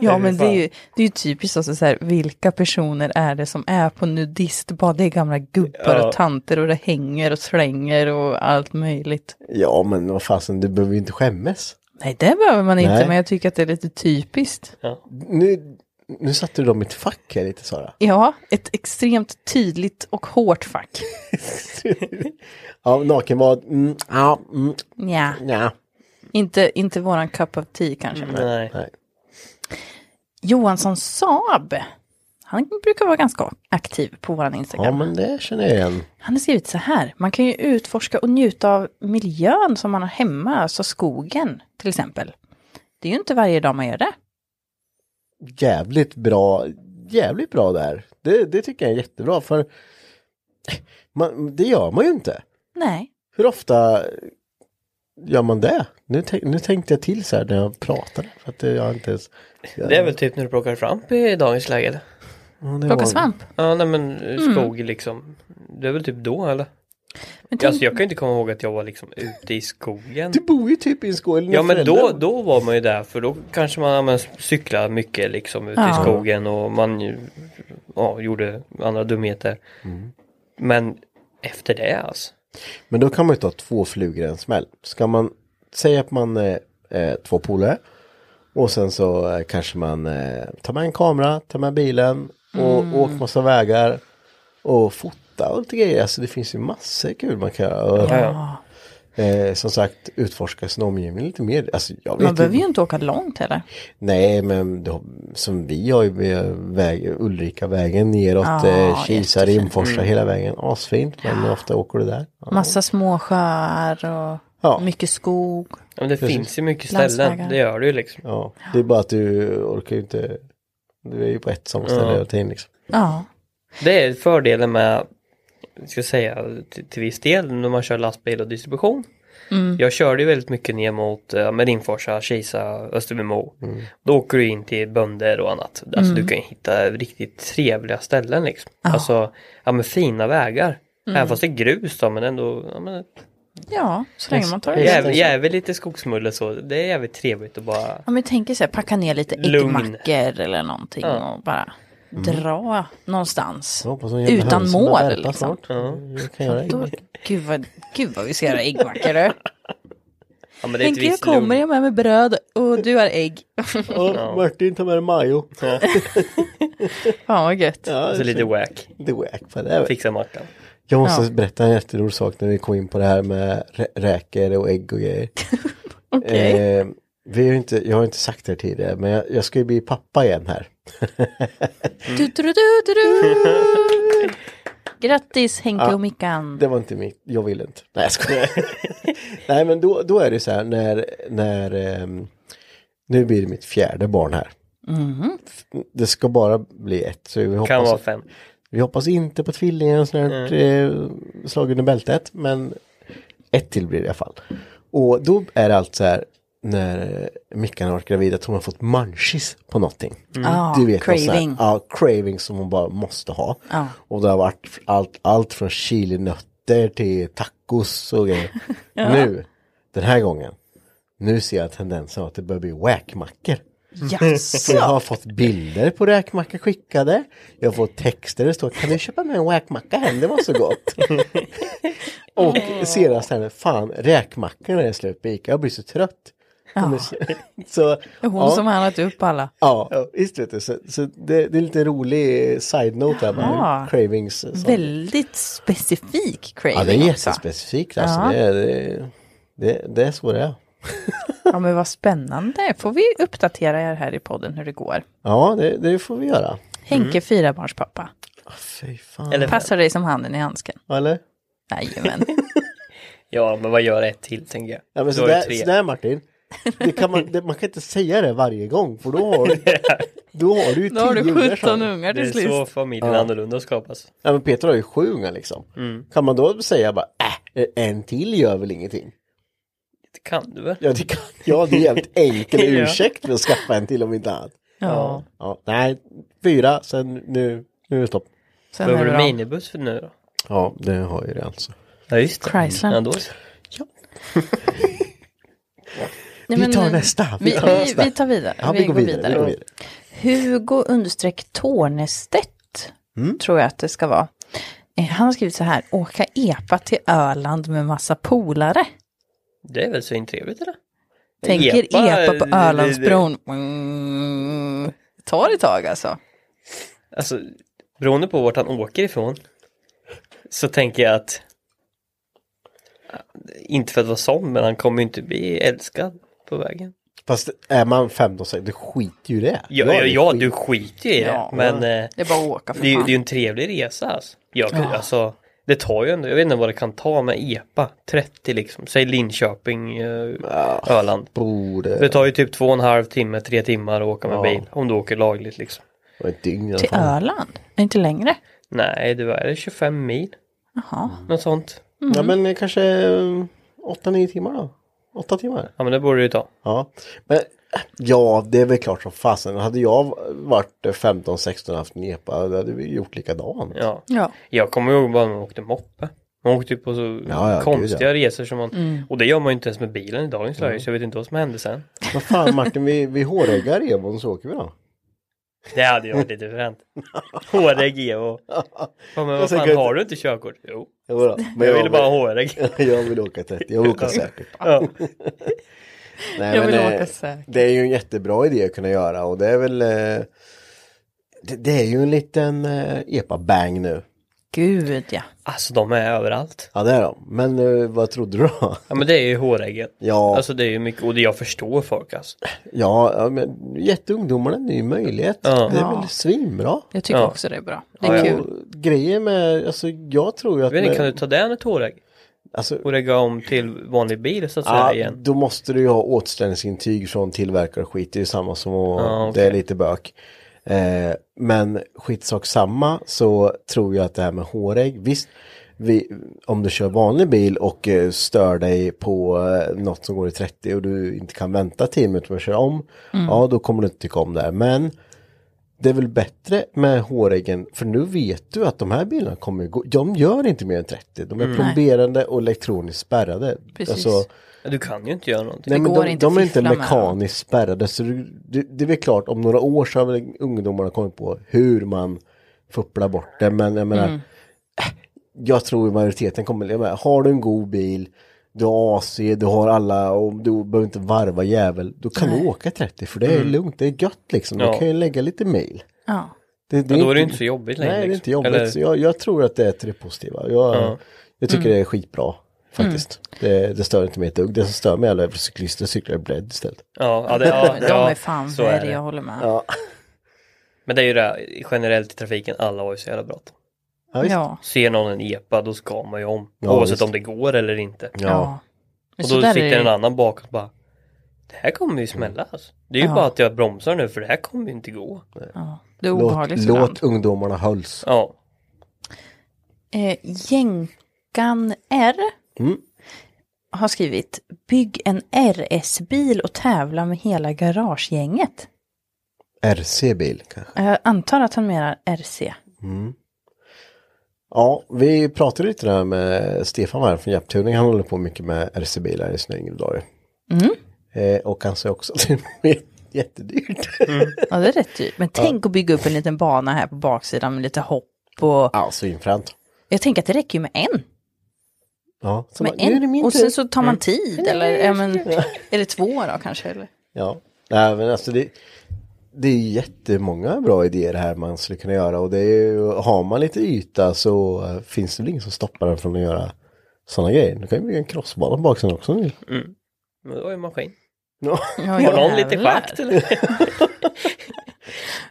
A: Ja men det är ju, det är ju typiskt också så här, vilka personer är det som är på nudistbad? Det är gamla gubbar
D: Ja.
A: och tanter och det hänger och slänger och allt möjligt.
B: Ja, men vad fasen, du behöver ju inte skämmas.
A: Nej det behöver man inte
B: Nej.
A: men jag tycker att det är lite typiskt.
B: Nu, nu satte du dem i ett fack här lite, Sara.
A: Ja, ett extremt tydligt och hårt fack.
B: ja, nakenbad. Mm, ja, mm,
A: Ja,
B: ja.
A: inte, inte våran cup of tea kanske.
D: <laughs> nej.
B: Nej.
A: Johansson Saab. Han brukar vara ganska aktiv på våran Instagram.
B: Ja, men det känner jag igen.
A: Han har skrivit så här. Man kan ju utforska och njuta av miljön som man har hemma, alltså skogen till exempel. Det är ju inte varje dag man gör det.
B: jävligt bra, jävligt bra där. Det, det tycker jag är jättebra för man, det gör man ju inte.
A: Nej.
B: Hur ofta gör man det? Nu, tänk- nu tänkte jag till så här när jag pratade. För att jag har inte ens, jag,
D: Det är väl typ när du plockar svamp i dagens läge? eller?
B: Ja, det
A: Plocka
B: var-
A: svamp.
D: Ja, nej men skog liksom. Det är väl typ då eller?
A: Men Mm. tänk,
D: Alltså jag kan ju inte komma ihåg att jag var liksom ute i skogen.
B: Du bor ju typ i en skål.
D: Ja men då, då var man ju där för då kanske man ja, men, cyklade mycket liksom ute
A: Ja.
D: i skogen och man ju, ja, gjorde andra dumheter. Men efter det alltså.
B: Men då kan man ju ta två flugor i en smäll. Ska man säga att man är eh, två polare och sen så eh, kanske man eh, tar med en kamera, tar med bilen och
A: Mm.
B: åker massa vägar och fotar och lite grejer. Alltså det finns ju massor kul man kan göra. Och,
D: Ja.
B: eh, som sagt utforska sin omgivning lite mer. Alltså, jag vet
A: man behöver ju inte åka långt heller.
B: Nej men då, som vi har ju vi har väg, Ulrika vägen neråt,
A: Ja,
B: eh, Kisa,
A: jättefint.
B: Rimforsa hela vägen. Asfint men ofta åker du där. Ja.
A: Massa småsjöar och
B: Ja.
A: mycket skog.
D: Ja, men det
B: Precis.
D: finns ju mycket ställen,
A: Landsvägar.
D: det gör det ju liksom.
B: Ja, det är bara att du orkar ju inte. Du är ju på ett samma ställe
D: Ja.
B: hela tiden liksom.
A: Ja,
D: Det är fördelen med, ska jag säga till, till viss del, när man kör lastbil och distribution. Jag körde ju väldigt mycket ner mot eh, Medinforsa, Kisa, Österbymo. Då åker du in till bönder och annat. Alltså du kan ju hitta riktigt trevliga ställen liksom. Alltså, ja men fina vägar. Även fast det är grus då, men ändå, ja men
A: ja så länge man tar det lugnt.
D: jävligt, jävligt lite skogsmulle så. Det är jävligt trevligt att bara,
A: Om vi tänker så här, packa ner lite
D: Lugn.
A: äggmackor eller någonting
D: Ja.
A: och bara dra någonstans.
B: Jag hoppas hon jävla
A: Utan
B: hönsen börjar
A: mål
B: värpa
A: liksom.
B: snart. Jag kan göra
A: Då,
B: det.
A: gud, vad, gud vad vi ser äggmackor du.
D: ja men det är
A: Tänk
D: ett
A: jag
D: visst lugn.
A: kommer, jag är med mig bröd och du har ägg.
B: Och Martin tar med dig Majo.
D: Ja,
A: <laughs> Fan vad gött.
B: Ja,
D: alltså lite wack,
B: det är wack på det.
D: fixa mackan.
B: Jag måste berätta en jätterolig sak när vi kom in på det här med rä- räkor och ägg och grejer.
A: <laughs> Okej.
B: Eh, vi har ju inte, jag har inte sagt det här tidigare men jag, jag ska ju bli pappa igen här.
A: Du, du, du, du, du. <laughs> Grattis Henke och Mickan.
B: Det var inte mitt, jag vill inte. Nej jag skojar. <laughs> Nej men då, då är det så här när, när ehm, nu blir det mitt fjärde barn här. F- Det ska bara bli ett. Så vi
D: Kan
B: hoppas,
D: vara fem.
B: vi hoppas inte på tvillingar och sånt här eh, slag under bältet. Men ett till blir det i alla fall. Och då är det allt så här när eh, Mickan har varit gravid att hon har fått munchies på någonting.
A: Ja,
B: Du vet, craving.
A: craving.
B: ja, craving som hon bara måste ha.
A: Ja.
B: Och det har varit allt, allt från chilinötter till tacos och grejer. Nu, den här gången, nu ser jag tendensen att det börjar bli whackmackor.
A: Jaså?
B: Jag har fått bilder på räkmackor skickade. Jag har fått texter där det står kan du köpa med en räkmacka hem, det var
A: <laughs>
B: så gott. och senast här, fan räkmackorna är slut på Ica, jag blir så trött. så,
A: Hon
B: ja.
A: som har handlat upp alla.
B: Ja, visst vet du. Så, så det, det är lite rolig side-note här med
A: Ja.
B: cravings. sånt.
A: Väldigt specifik craving
B: ja, det är
A: också.
B: jättespecifikt. Alltså,
A: Ja.
B: det, är- det, det, det är så det är.
A: Ja men vad spännande. Får vi uppdatera er här i podden hur det går.
B: Ja, det, det får vi göra.
A: Henke
B: Mm.
A: fyrabarnspappa.
B: Fy fan.
D: Eller
A: Passar dig som handen i handsken.
B: Eller?
A: Jajamän.
D: Ja, men vad gör ett till tänker jag?
B: Ja, men
D: Då är det
B: sådär,
D: tre.
B: sådär Martin. Det kan man, det, man kan inte säga det varje gång för då
D: <laughs>
B: har du, då har du
A: <laughs>
B: ju
A: Då har
B: tio
A: du
B: ungar, sa
A: 17
B: du.
A: ungar
D: Det
A: till
D: är
A: slut.
D: så familjen annorlunda skapas.
B: Ja men Peter har ju sju ungar liksom.
D: Mm.
B: Kan man då säga bara äh, en till gör väl ingenting.
D: Det kan du väl?
B: Ja det, kan, ja, det är en jävligt
D: <laughs>
B: enkel
D: Ja.
B: ursäkt för att skaffa en till om inte annat.
A: Ja.
B: Ja, nej, fyra, sen nu, nu är det stopp.
A: Sen är
D: Behöver
A: det
D: du
A: bra.
D: minibuss för nu då?
B: Ja, det har ju det alltså.
D: Ja, just det.
A: Chrysler.
D: Ja, då så.
B: <laughs>
A: Nej, men,
B: vi tar
A: eh,
B: nästa.
A: Vi, vi, vi tar vidare.
B: Ja, vi går vidare. Vi går vidare.
A: Hugo understreck Tornestedt
D: Mm.
A: tror jag att det ska vara. Eh, Han har skrivit så här, åka epa till Öland med massa polare.
D: Det är väl så intrevligt eller?
A: Tänker
D: Epa,
A: epa,
D: det-
A: på
D: det-
A: Ölandsbron. Mm. Tar ett tag alltså.
D: Alltså, beroende på vart han åker ifrån så tänker jag att inte för att vara sån, men han kommer ju inte bli älskad på vägen.
B: Fast är man 15 så du skiter ju i det.
D: Ja,
B: Jag
D: ja,
B: är
D: ja
B: skit-
D: du skiter ju i det,
A: Ja.
D: men eh,
A: Det är bara att åka för
D: det, är ju-
A: fan.
D: det är ju en trevlig resa alltså. Jag, kan- alltså. Det tar ju ändå, jag vet inte vad det kan ta med EPA, 30 liksom, säg Linköping, eh,
B: Ah.
D: Öland.
B: Borde...
D: Det tar ju typ två och en halv timme, tre timmar att åka med bil, om du åker lagligt liksom.
B: Det var ett dygn i alla
A: Till
B: fall.
A: Öland? Inte längre?
D: Nej, det är 25 mil,
A: Jaha.
D: något sånt.
B: Ja men eh, kanske 8-9 timmar då? 8 timmar?
D: Ja men det borde det ju ta.
B: Ja. Men eh, ja, det är väl klart som fasen. Hade jag varit 15-16 och haft en epa, då hade vi gjort likadant.
D: Ja.
A: Ja.
D: Jag kommer ihåg bara när man åkte moppe. Man åkte ju på så
B: Ja, Mm. ja,
D: konstiga
B: gud,
D: resor som man... Och det gör man ju inte ens med bilen i dagens läge så jag vet inte vad som hände sen.
B: Vad fan Martin, vi, vi håröggar Evon så åker vi då.
D: Det hade ju varit lite fränt. HRG och... Ja, men vad fan,
B: tänker-
D: har du inte körkort? Jo,
B: Jo då,
D: men jag ville bara
B: vill,
D: ha HRG.
B: Jag vill <laughs> åka 30, jag åker säkert.
D: Ja.
B: Nej,
A: Jag vill
B: men,
A: åka
B: eh,
A: säkert.
B: Det är ju en jättebra idé att kunna göra och det är väl eh, det, det är ju en liten eh, epa-bang nu.
A: Gud ja.
D: <laughs> Alltså de är överallt.
B: Ja det är de. Men eh, vad trodde du då? <laughs>
D: Ja men det är ju HRG.
B: Ja,
D: Alltså det är ju mycket, och det jag förstår folk alltså.
B: ja, ja men gett ungdomarna en ny möjlighet.
D: Ja.
B: Det är
A: Ja.
B: väl svinbra.
A: Jag tycker
D: Ja.
A: också det är bra. Det är
D: Ja, ja.
A: kul.
B: Och grejen med, alltså jag tror ju att...
D: Jag vet inte, kan du
B: med,
D: ta den ett HRG?
B: alltså,
D: Och lägga om till vanlig bil så att säga
B: ja,
D: igen?
B: då måste du ju ha återställningsintyg från tillverkare och skit. Det är ju samma som att
D: Ja, okej.
B: det är lite bök. Eh, men skitsak samma så tror jag att det här med hårägg, visst, vi, om du kör vanlig bil och eh, stör dig på eh, något som går i 30 och du inte kan vänta 10 minuter med att köra om, ja då kommer du inte tycka om det här. Men det är väl bättre med håräggen för nu vet du att de här bilarna kommer ju gå, de gör inte mer än 30, de är plomberande och elektroniskt spärrade. Alltså,
A: Precis.
D: Du kan ju inte göra någonting.
B: Nej, men
A: går
B: de,
A: inte
B: de är
A: att
B: inte
A: fiffla med
B: mekaniskt spärrade så du, du, det är väl klart om några år så har väl ungdomarna kommit på hur man fupplar bort det men jag menar äh, jag tror majoriteten kommer, jag menar, har du en god bil du har AC, du har alla och du behöver inte varva jävel då kan du åka 30 för det är lugnt, det är gött liksom,
D: Mm. Ja.
B: du kan ju lägga lite mil.
A: Ja.
B: Det,
D: Ja, då är det inte så jobbigt längre.
B: Nej, det är
D: liksom.
B: inte jobbigt.
D: Eller-
B: Så jag, jag tror att det är till det positiva. Jag,
D: Ja.
B: jag tycker
A: Mm.
B: det är skitbra faktiskt. Det, det stör inte mig ett dugg. Det som stör mig är alla cyklister cyklar i bredd istället.
D: Ja, ja, det, ja,
A: <laughs> De,
D: ja,
A: de är fan
D: så är
A: värre,
D: det.
A: jag håller med.
B: Ja,
D: Men det är ju det här, generellt i trafiken, alla har ju så jävla bråttom.
B: ja, visst.
A: ja.
D: Ser någon en epa, då ska man ju om.
B: Ja,
D: oavsett
B: visst.
D: om det går eller inte.
B: ja.
A: Men
D: Och
A: så
D: då
A: där är
D: sitter
A: det. Mm.
D: en annan bak och bara Det här kommer ju smälla alltså. Det är ju
A: Ja.
D: bara att jag bromsar nu för det här kommer ju inte gå.
A: Ja. Det är
B: Låt,
A: obehagligt ibland.
B: låt ungdomarna höls.
D: Ja,
A: Eh, Jänkan R
B: Mm.
A: har skrivit Bygg en RS-bil och tävla med hela garagegänget.
B: RC-bil kanske.
A: Jag antar att han menar RC.
B: Ja, vi pratade lite där med Stefan här från Japtuning. Han håller på mycket med RC-bilar i sina yngre dagar.
A: Mm.
B: Eh, och han sa också att det är <laughs> jättedyrt.
D: Mm.
A: Ja, det är rätt dyrt.
B: <laughs>
A: Men tänk att bygga upp en liten bana här på baksidan med lite hopp och...
B: Ja, svinfränt.
A: Jag tänker att det räcker ju med en.
B: Ja, så
A: Med
B: bara, nu är det
A: en.
B: min
A: Och
B: tur.
A: sen så tar man tid, eller, ja, men, <laughs> eller två då kanske.
B: <laughs>
A: Eller?
B: Ja, nej men alltså det, det är jättemånga bra idéer här man skulle kunna göra och det är ju, har man lite yta så eh, finns det väl ingen som stoppar en från att göra sådana grejer. Du kan ju bygga en crossbana på baksidan också om du vill.
D: Mm. men då är ju maskin.
B: Ja.
A: Ja,
D: Har någon lite
A: jävlar.
D: schakt eller?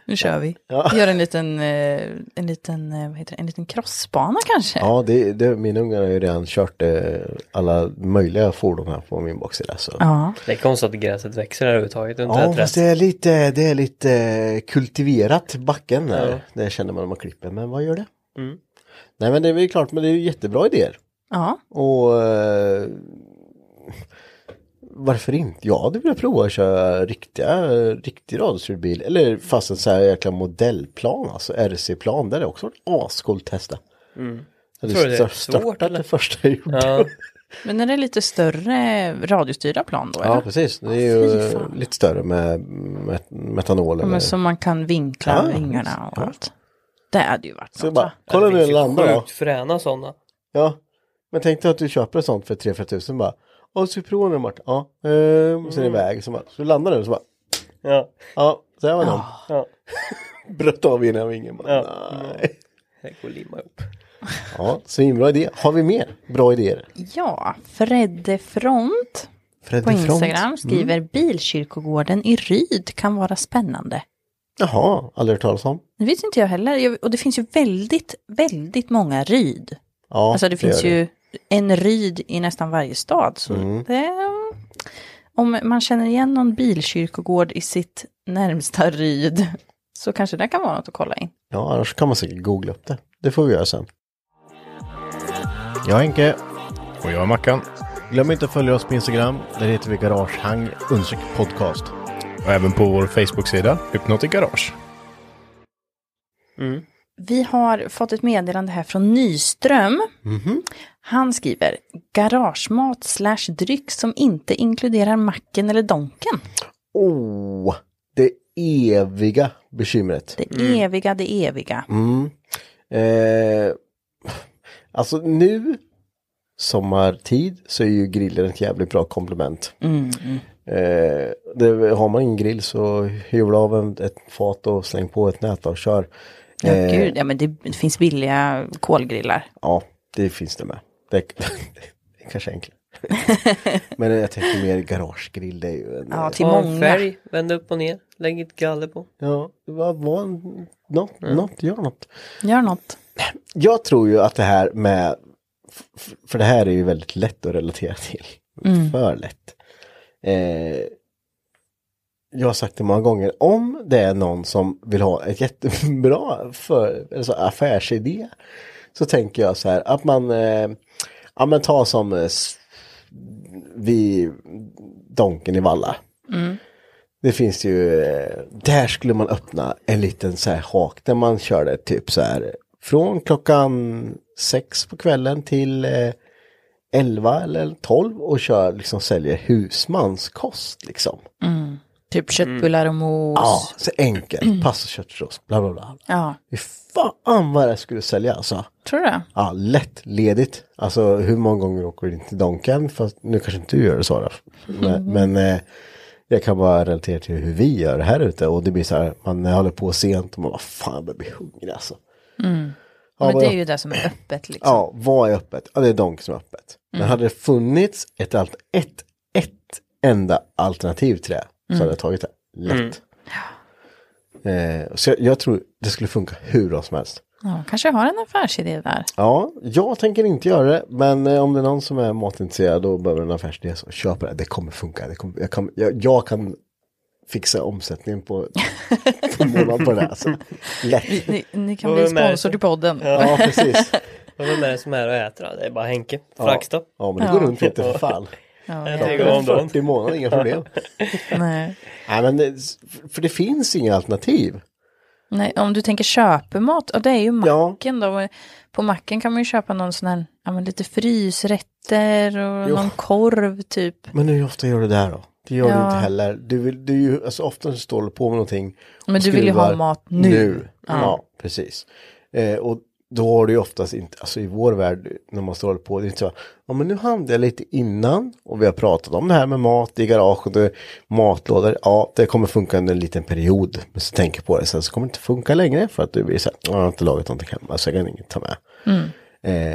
A: nu kör vi.
B: Ja.
A: Gör en liten, eh, en liten, eh, vad heter det, en liten crossbana kanske.
B: Ja, det, det, min ungar har ju redan kört eh, alla möjliga fordon här på min boxsida. Så.
A: Ja.
D: Det är konstigt att gräset växer överhuvudtaget runt
B: Ja,
D: det här
B: fast det
D: trädet.
B: är lite, det är lite eh, kultiverat backen där.
D: Ja.
B: Det känner man om man klipper, men vad gör det?
D: Mm.
B: Nej, men det är väl klart, men det är ju jättebra idéer.
A: ja.
B: Och eh, varför inte? Jag hade velat prova att köra riktiga, riktig radiostyrbil. Eller fast en så här jäkla modellplan, alltså RC-plan. Det hade också varit ascoolt att testa. Mm.
D: Tror du
B: Eller
D: det är
B: stört,
D: svårt,
B: störtat
D: eller?
B: det första jag gjorde.
D: Ja,
A: Men är det lite större radiostyrda plan då?
B: Ja,
A: eller?
B: precis. Det är
A: fy
B: ju
A: fan.
B: lite större med met-
A: Ja,
B: metanol.
A: men
B: eller...
A: som man kan vinkla
B: Ja,
A: vingarna och
B: ja.
A: allt. Det hade ju varit
B: Så
A: något.
B: bara,
A: va?
B: kolla nu
D: det
B: den
D: finns
B: landar
D: ju
B: då.
D: sjukt fräna sådana.
B: Ja. Men tänk dig att du köper ett sånt för 3-4 tusen bara. Ja, så vi provar den Martin. Ja. Ehm,
A: Mm.
B: och så är det iväg. Så, bara, så landar den så bara.
D: Ja,
B: Ja, så här var den.
D: ja.
B: <laughs> Bröt av ena vingen bara.
D: Ja.
B: Nej.
D: Det går att limma ihop.
B: Ja, svinbra idé. Har vi mer bra idéer?
A: Ja, Fredde Front
B: Fredde
A: på
B: Front. Mm.
A: Instagram skriver Bilkyrkogården i Ryd kan vara spännande.
B: Jaha, aldrig hört talas om.
A: Det vet inte jag heller. Jag- Och det finns ju väldigt, väldigt många Ryd.
B: Ja,
A: alltså det finns
B: gör
A: ju en Ryd i nästan varje stad. Så
B: Mm.
A: det, om man känner igen någon bilkyrkogård i sitt närmsta Ryd så kanske det kan vara något att kolla in.
B: Ja, annars kan man säkert googla upp det. Det får vi göra sen. Jag är Henke.
E: Och jag är Mackan.
B: Glöm inte att följa oss på Instagram. Där heter vi Garagehang understreck podcast.
E: Och även på vår Facebook-sida Hypnotic Garage.
A: Vi har fått ett meddelande här från Nyström.
B: Mhm.
A: Han skriver garagemat slash dryck som inte inkluderar macken eller donken.
B: Oh, det eviga bekymret.
A: Det eviga, det eviga.
B: Mm. Eh, alltså nu, sommartid, så är ju grillen ett jävligt bra komplement. Eh, det, har man ingen grill så hyvla av en, ett fat och släng på ett nät och kör.
A: Ja,
B: Eh,
A: gud, ja, men det, det finns billiga kolgrillar.
B: Ja, det finns det med. Det, <laughs> det är kanske enklare. Men jag tänker mer garagegrill, det är ju en...
A: Ja, till
D: Ta en
A: många.
D: färg, vänd upp och ner, lägg ett galler på.
B: Ja, vad var en... Något, något, gör något.
A: Gör något.
B: Jag tror ju att det här med, f- f- för det här är ju väldigt lätt att relatera till. För lätt. Eh, jag har sagt det många gånger, om det är någon som vill ha ett jättebra för, alltså affärsidé. Så tänker jag så här att man, eh, ja men ta som eh, s- vi, Donken i Valla. Det finns ju, eh, där skulle man öppna en liten så här hak där man körde typ så här från klockan sex på kvällen till eh, elva eller tolv och kör liksom säljer husmanskost liksom.
A: Typ köttbullar och mos.
B: Mm. Ja, så enkelt. Pass och köttfärssås, bla bla bla.
A: Ja,
B: Fy fan vad det skulle sälja alltså.
A: tror du det?
B: Ja, lätt ledigt. Alltså hur många gånger åker du in till Donken? Fast nu kanske inte du gör det Sara.
A: Mm.
B: Men, men eh, jag kan bara relatera till hur vi gör här ute. Och det blir så här, man håller på sent och man bara fan jag börjar bli hungrig alltså. Ja,
A: Mm. men
B: vad-
A: det är ju det som är öppet liksom.
B: Ja, vad är öppet? Ja, det är Donken som är öppet.
A: Mm.
B: Men hade det funnits ett, alt- ett, ett enda alternativ till det så
A: Mm.
B: hade jag tagit det. Lätt. Eh, så jag, jag tror det skulle funka hur bra som helst.
A: Ja, kanske har en affärsidé där.
B: Ja, jag tänker inte göra det, men eh, om det är någon som är matintresserad och behöver en affärsidé så köp det. Det kommer funka. Det kommer, jag, kan, jag, jag kan fixa omsättningen på, på månaden på det här. Alltså, lätt.
A: Ni, ni kan
D: Då
A: bli
D: är vi med.
A: sponsor till podden.
B: Ja, precis.
D: Vad är det som är att äta? Det är bara Henke.
B: Ja.
D: Frackstopp.
B: Ja, men det går runt lite för fan.
A: Ja,
D: En
A: jag-
D: gång om dagen.
B: 40 månader, inga problem.
A: nej.
B: Nej, men det, för det finns inga alternativ.
A: Nej, om du tänker köpemat, och det är ju
B: Ja.
A: macken då. På macken kan man ju köpa någon sån här, ja men lite frysrätter och
B: Jo.
A: någon korv typ.
B: Men hur ofta gör du det här då? Det gör du
A: Ja.
B: inte heller. Du vill, du är ju, alltså ofta så står du på med någonting.
A: Men
B: och
A: du vill ju ha
B: skruvar
A: mat nu.
B: Ja, precis. Eh, och då har du ju oftast inte, alltså i vår värld när man står på, det är inte så, ja men nu handlade jag lite innan och vi har pratat om det här med mat i garaget och matlådor, ja det kommer funka under en liten period, men så tänker jag på det sen så kommer det inte funka längre för att du blir så här, "Ja, jag har inte lagat någonting hemma så jag kan inget ta med.
A: Mm.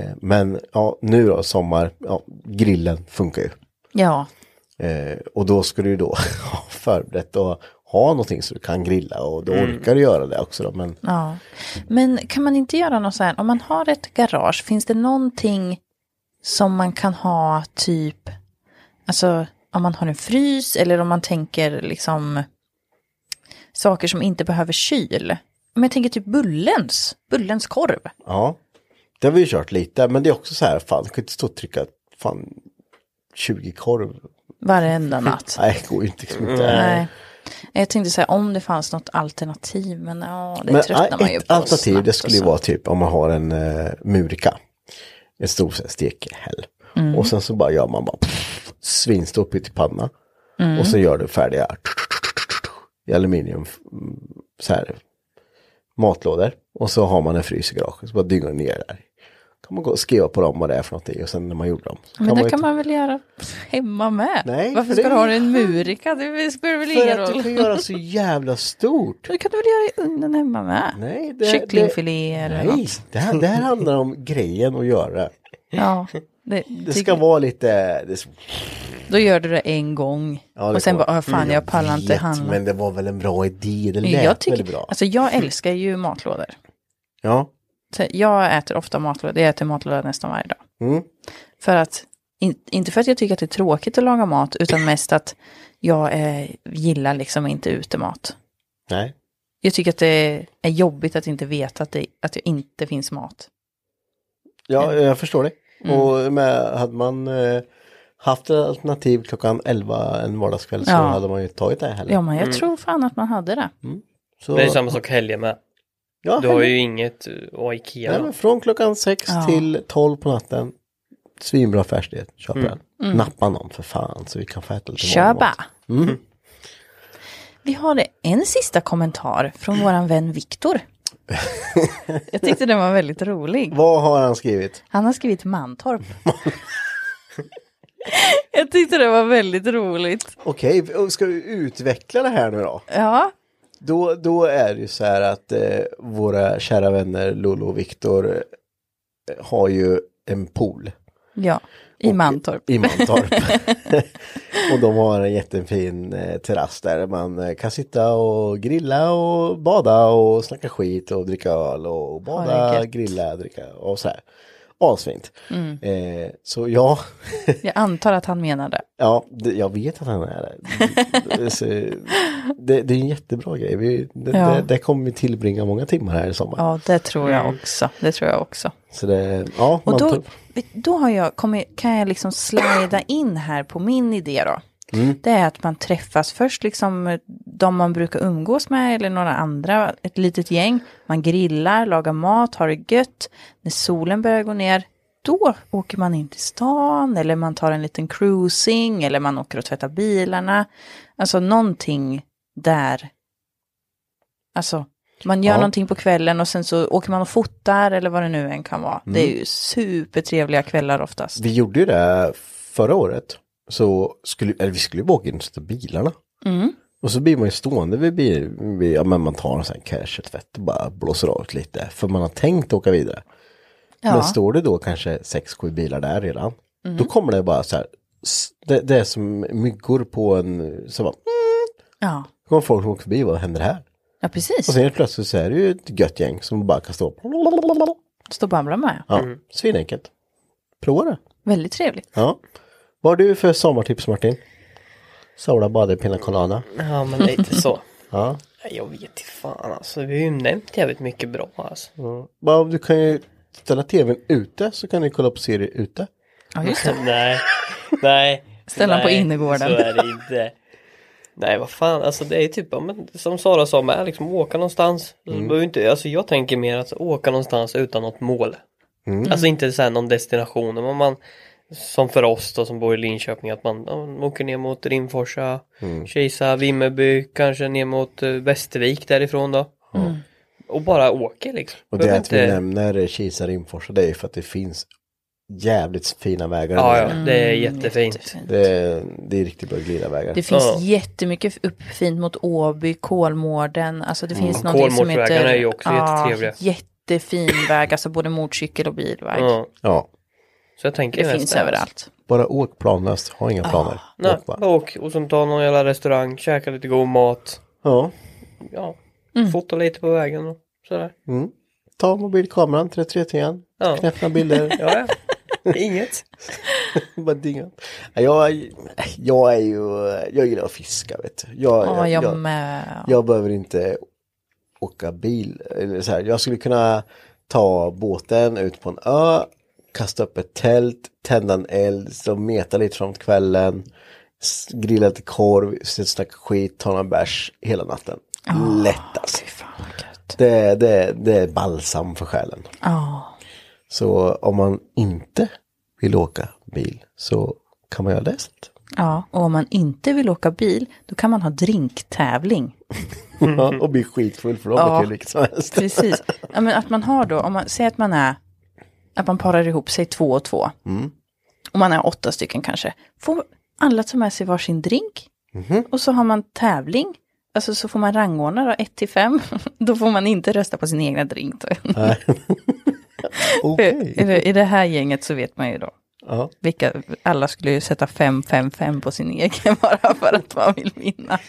B: Eh, men ja, nu då sommar, ja, grillen funkar ju.
A: Ja,
B: <laughs> Eh, och då ska du ju då ha förberett och ha någonting så du kan grilla och då orkar du göra det också då. Men
A: Ja. Men kan man inte göra något så här, om man har ett garage, finns det någonting som man kan ha typ, alltså om man har en frys eller om man tänker liksom saker som inte behöver kyl. Om jag tänker typ Bullens, Bullens korv.
B: ja, det har vi ju kört lite. Men det är också så här, fan, du kan inte stå och trycka fan, 20 korv.
A: Varenda natt.
B: Nej, det går ju inte. Liksom inte.
A: Nej. Jag tänkte säga om det fanns något alternativ, men ja, det
B: Men
A: tröttnar
B: ja,
A: man ju
B: ett
A: på.
B: alternativ
A: snabbt
B: det
A: och
B: skulle ju
A: så.
B: vara typ om man har en eh, murika. En stor så här stekhäll.
A: Mm.
B: Och sen så bara gör man bara pff, svinstor pyttipanna.
A: Mm.
B: Och så gör du färdiga i aluminium mm, så här matlådor. Och så har man en frys i garaget så bara dyngar det ner där. Kan man gå och skriva på dem vad det är för någonting och sen när man gjorde dem. så
A: Men det
B: ju
A: kan
B: ta-
A: man väl göra hemma med?
B: Nej,
A: Varför
B: för
A: ska
B: det
A: du
B: är
A: ha
B: ju-
A: en murika? Det spelar väl ingen
B: För att du
A: roll?
B: kan göra så jävla
A: <laughs>
B: stort.
A: Det kan du väl göra i ugnen hemma med?
B: Nej, det-
A: Kycklingfilé eller
B: Nej,
A: något.
B: det här, det här handlar om grejen att göra.
A: Ja, det,
B: <laughs> Det
A: tycker-
B: ska vara lite, det
A: Då gör du det en gång.
B: Ja, det
A: och sen
B: kan
A: bara, "Åh, fan jag pallar inte
B: vet,
A: handla.
B: Men det var väl en bra idé, det lät
A: jag,
B: väldigt bra.
A: alltså, jag älskar ju matlådor.
B: ja,
A: Så jag äter ofta matlådor, jag äter matlådor nästan varje dag.
B: Mm.
A: För att, in, inte för att jag tycker att det är tråkigt att laga mat, utan mest att jag eh, gillar liksom inte utemat.
B: nej.
A: Jag tycker att det är jobbigt att inte veta att det, att det inte finns mat.
B: Ja, jag förstår det.
A: Mm.
B: Och med, hade man eh, haft ett alternativ klockan 11 en vardagskväll så
A: Ja.
B: hade man ju tagit det heller.
A: Ja, men jag tror fan att man hade det.
B: så,
D: Det är samma sak helger med.
B: ja,
D: Du har
B: heller.
D: ju inget eh, och Ikea.
B: nej, men från klockan 6
A: Ja.
B: till 12 på natten. Svinbra affärsidé, köp den. Nappa någon för fan så vi kan få äta lite
A: Mm. Köpa.
B: morgonmat. Mm.
A: Vi har en sista kommentar från våran vän
B: <laughs>
A: Viktor. Jag tyckte den var väldigt rolig.
B: Vad har han skrivit?
A: Han har skrivit Mantorp. <laughs> Jag tyckte det var väldigt roligt.
B: Okej, ska vi utveckla det här nu då?
A: Ja,
B: Då, då är det ju så här att eh, våra kära vänner Lolo och Viktor eh, har ju en pool
A: ja i
B: Och-
A: Mantorp.
B: i Mantorp.
A: <laughs>
B: <laughs> och de har en jättefin eh, terrass där man eh, kan sitta och grilla och bada och snacka skit och dricka öl och
A: det
B: bada,
A: gött. Mm.
B: grilla, dricka och så här. Asfint. Eh, så ja, <laughs>
A: Jag antar att han menar det.
B: Ja, det, jag vet att han är det. Så, det. Det är en jättebra grej. Vi, det,
A: Ja.
B: det, det kommer vi tillbringa många timmar här i sommar.
A: Ja, det tror jag också. Det tror jag också.
B: Så det, ja,
A: Och
B: man
A: då,
B: tar-
A: vet- då har jag kommit, kan jag liksom slida in här på min idé då. Det är att man träffas först, liksom de man brukar umgås med eller några andra, ett litet gäng. Man grillar, lagar mat, har det gött. När solen börjar gå ner, då åker man in till stan eller man tar en liten cruising eller man åker och tvättar bilarna. Alltså någonting där. Alltså, man gör
B: Ja.
A: någonting på kvällen och sen så åker man och fotar eller vad det nu än kan vara.
D: Mm.
A: Det är ju supertrevliga kvällar oftast.
B: vi gjorde ju det förra året. Så skulle, eller vi skulle ju bara åka in och sätta bilarna.
A: Mm.
B: Och så blir man ju stående vid bil, vid, ja men man tar en sån här cash och tvätt och bara blåser av lite. För man har tänkt åka vidare. Men står det då kanske 6-7 bilar där redan.
A: Mm.
B: Då kommer det bara så här. s- Det, det är som myggor på en, så bara,
A: ja.
B: Då kommer folk som åker förbi, vad händer här?
A: ja precis.
B: Och sen helt plötsligt så är det ju ett gött gäng som bara kan stå
A: Stå och babbla med.
B: Ja,
D: Mm.
B: svinenkelt. Prova det.
A: Väldigt trevligt.
B: Ja. Vad har du för sommartips Martin? Sola, bada, pina colada.
D: Ja men lite så.
B: Ja.
D: Nej, Jag vet inte fan alltså. Vi har ju nämnt jävligt mycket bra alltså.
B: Bara om du kan ju ställa tvn ute så kan du kolla på serier ute.
A: Ja, just det.
D: <laughs> Nej. Nej.
A: Ställ den på
D: Nej,
A: innergården.
D: Så är det inte. Nej vad fan alltså det är ju typ ja, men, som Sara sa med liksom åka någonstans. Mm. Behöver inte, alltså jag tänker mer att åka någonstans utan något mål.
B: Mm.
D: Alltså inte så här någon destination. Men man, som för oss då som bor i Linköping att man, ja, man åker ner mot Rimforsa,
B: Mm.
D: Kisa, Vimmerby, kanske ner mot eh, Västervik därifrån då.
A: Mm.
D: Och bara åker liksom.
B: Och det
D: Behöver
B: att vi nämner Kisa, Rimforsa, det är ju för att det finns jävligt fina vägar.
D: Ja,
B: där.
D: ja, det är jättefint.
A: Mm, Jättefint.
B: Det, är, det är riktigt bra glidarvägar.
A: Det finns
D: Ja.
A: jättemycket upp fint mot Åby, Kolmården. Alltså det finns någonting som heter...
D: Mm. Kolmårdsvägarna är ju också jättetrevliga.
A: Jättefin väg, alltså både motorcykel och bilväg.
D: Ja,
B: Ja,
D: så jag tänker
A: Det
D: mest
A: finns
D: där.
A: överallt.
B: bara åk planlöst, ha inga planer.
D: Nej,
B: Åk bara.
D: åk och sen ta någon jävla restaurang, käka lite god mat.
B: Ja.
D: ja,
A: Mm.
D: fota lite på vägen och sådär.
B: Mm. Ta mobilkameran, 3310,
D: Ja.
B: knäpp några bilder.
D: <laughs> Ja, ja. Inget.
B: <laughs> Bara dynga. Ja, Jag, jag är ju, jag gillar att fiska vet du. Jag,
A: Ja, jag,
B: jag,
A: med.
B: jag behöver inte åka bil. Eller så här. Jag skulle kunna ta båten ut på en ö, kasta upp ett tält, tända en eld, så meta lite framåt kvällen, s- grilla lite korv, sitta och snacka skit, ta några bärs hela natten. Lätt alltså.
A: Fy fan vad Ah, gött.
B: Det, det, det är balsam för själen.
A: Ja.
B: Så om man inte vill åka bil så kan man göra det istället.
A: ja, och om man inte vill åka bil, då kan man ha drinktävling.
B: Ja, <laughs> och bli skitfull för de
A: Mm. Ja.
B: ja. vilket som helst.
A: Precis. Ja, men att man har då, om man säger att man är, att man parar ihop sig två och två.
B: Mm.
A: Och man är åtta stycken kanske. Får alla ta med sig varsin drink.
B: Mhm.
A: Och så har man tävling. Alltså så får man rangordna då, ett till fem. <laughs> Då får man inte rösta på sin egna drink. Då. <laughs>
B: Okej.
A: I, det, I det här gänget så vet man ju då.
B: Ja.
A: Vilka, alla skulle ju sätta fem fem fem på sin egen <laughs> bara för att man vill vinna.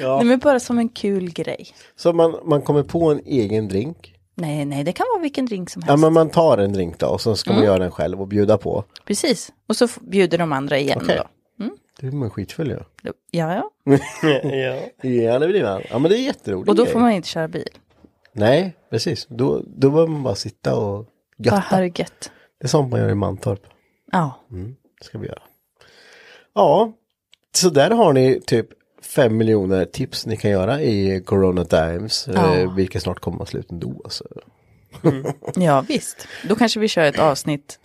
B: Ja.
A: Nej, men bara som en kul grej.
B: Så man, man kommer på en egen drink.
A: Nej, nej, det kan vara vilken drink som helst.
B: Ja men man tar en drink då och så ska
A: Mm.
B: man göra den själv och bjuda på.
A: Precis, och så f- bjuder de andra igen
B: Okej. Mm.
A: då.
B: Det är man skitfull ju.
A: Då- Ja, ja.
D: Ja.
B: Ja det blir man. Ja men det är jätteroligt.
A: Och då får man inte köra bil.
B: Nej precis. Då, då behöver man bara sitta och
A: Vad
B: götta.
A: härligt.
B: Det är sånt man gör i Mantorp.
A: Ja,
B: Mm. Ska vi göra. Ja. Så där har ni typ fem miljoner tips ni kan göra i Corona Times. Eh, vilka snart kommer vara slut ändå. Alltså.
A: ja visst. Då kanske vi kör ett avsnitt.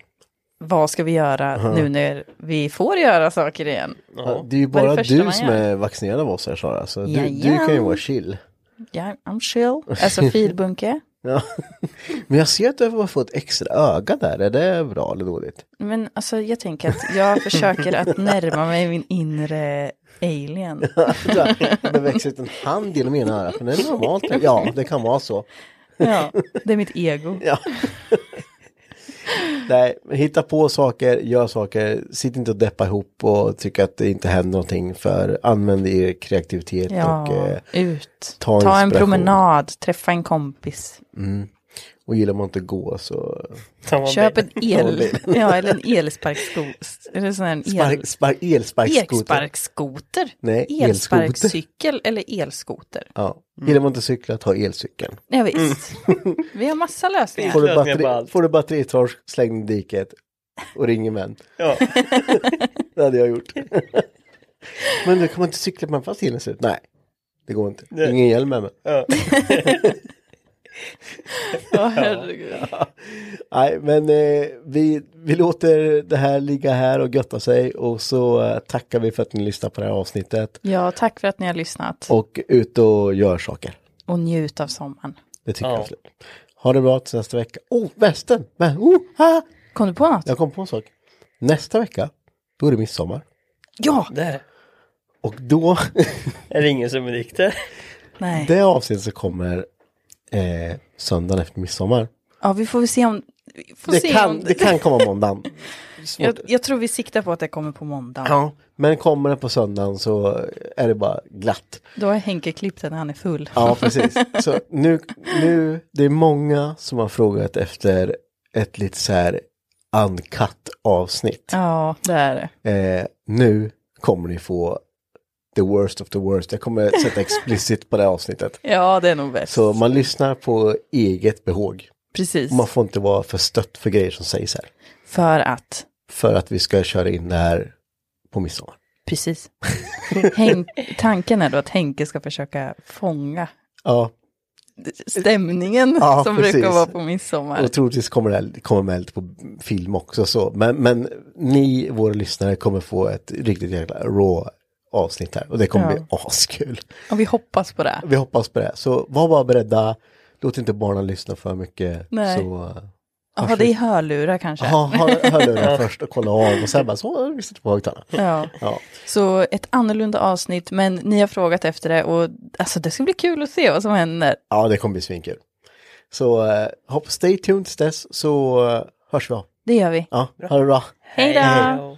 A: Vad ska vi göra nu när vi får göra saker igen?
B: Ja, det är ju
A: Vad är det
B: bara
A: första
B: du
A: man
B: som
A: gör?
B: är vaccinerad av oss här Sara. Så du, du
A: Jajamän.
B: kan ju vara chill.
A: Ja, I'm chill.
B: <laughs>
A: Alltså filbunke.
B: Ja. <laughs> Men jag ser att du har fått extra öga där. Är det bra eller dåligt?
A: Men alltså jag tänker att jag försöker att närma mig min inre alien.
B: Det växer ut en hand genom ena örat. Men det är normalt. Ja, det kan vara så.
A: Ja, det är mitt ego.
B: Ja. <laughs> Nej, men hitta på saker, gör saker, sitt inte och deppa ihop och tycka att det inte händer någonting för använd er kreativitet och,
A: Ja,
B: eh,
A: ut.
B: ta
A: Ta en
B: inspiration.
A: promenad, träffa en kompis.
B: och gillar man inte att gå så
D: Ta man
A: Köp
D: bil.
A: en el, ja, eller en elsparksko, eller sån här en
B: spark,
A: el,
B: spark, elsparkskoter.
A: elsparkskoter,
B: Nej,
A: elsparkcykel eller elskoter.
B: Ja. Gillar man inte att cykla, ta elcykeln.
A: Ja, visst.
B: Mm.
A: <laughs> Vi har massa lösningar.
B: Får du,
D: Lösningar på
B: batteri,
D: allt.
B: får du batteritorsk, släng den i diket och ring en vän.
D: Ja.
B: Det hade jag
D: <laughs>
B: gjort. Men du kan man inte cykla med fast hindret ser ut? Nej, det går inte.
D: Nej.
B: Ingen hjälm med mig.
A: Ja, herregud.
B: Nej, men eh, vi, vi låter det här ligga här och götta sig och så eh, tackar vi för att ni lyssnar på det här avsnittet
A: ja, tack för att ni har lyssnat
B: och ut och gör saker.
A: och njut av sommaren.
B: Det tycker
D: Ja.
B: jag absolut. Ha det bra tills nästa vecka. Oh, västen! Men, oh, ha!
A: Kom du på något?
B: Jag kom på en sak. Nästa vecka, då är det midsommar.
A: Ja!
D: Där.
B: Och då, <laughs>
D: Är det ingen som är nykter?
A: Nej.
B: det avsnittet som kommer eh, söndagen efter midsommar.
A: Ja, vi får väl se om... vi Får
B: Det
A: se
B: kan,
A: om
B: det kan komma måndagen.
A: <laughs>
B: Svårt.
A: Jag, jag tror vi siktar på att det kommer på måndag.
B: Ja, men kommer den på söndagen så är det bara glatt.
A: Då har Henke klippt den när han är full.
B: Ja, precis. Så nu, nu, det är många som har frågat efter ett lite så här uncut avsnitt.
A: <laughs> Ja, det är det.
B: Eh, nu kommer ni få the worst of the worst. Jag kommer sätta explicit på det här avsnittet.
A: Ja, det är nog bäst.
B: Så man lyssnar på eget behåg.
A: Precis.
B: Och Man får inte vara för stött för grejer som sägs här.
A: För att
B: För att vi ska köra in det här på midsommar. <laughs>
A: Precis. Hen- tanken är då att Henke ska försöka fånga
B: Ja,
A: stämningen
B: Ja,
A: som
B: precis.
A: brukar vara på midsommar.
B: Och troligtvis kommer det här komma med lite på film också. Så. Men, men ni, våra lyssnare, kommer få ett riktigt jäkla raw avsnitt här. Och det kommer
A: Ja.
B: bli askul.
A: Och vi hoppas på det.
B: Vi hoppas på det. Så var bara beredda. Låt inte barnen lyssna för mycket.
A: Nej.
B: Så eh,
A: Ha det i hörlurar kanske.
B: ha, ha, hör
A: <laughs>
B: det först och kolla av. Och sen bara så, vi sätter på högtalarna.
A: Ja.
B: Ja.
A: Så ett annorlunda avsnitt, men ni har frågat efter det och alltså det ska bli kul att se vad som händer.
B: ja, det kommer bli svinkul. Så eh, hopp, stay tuned tills dess så eh, hörs vi av.
A: Det gör vi.
B: Ja, ha det bra.
A: Hej då!
D: då!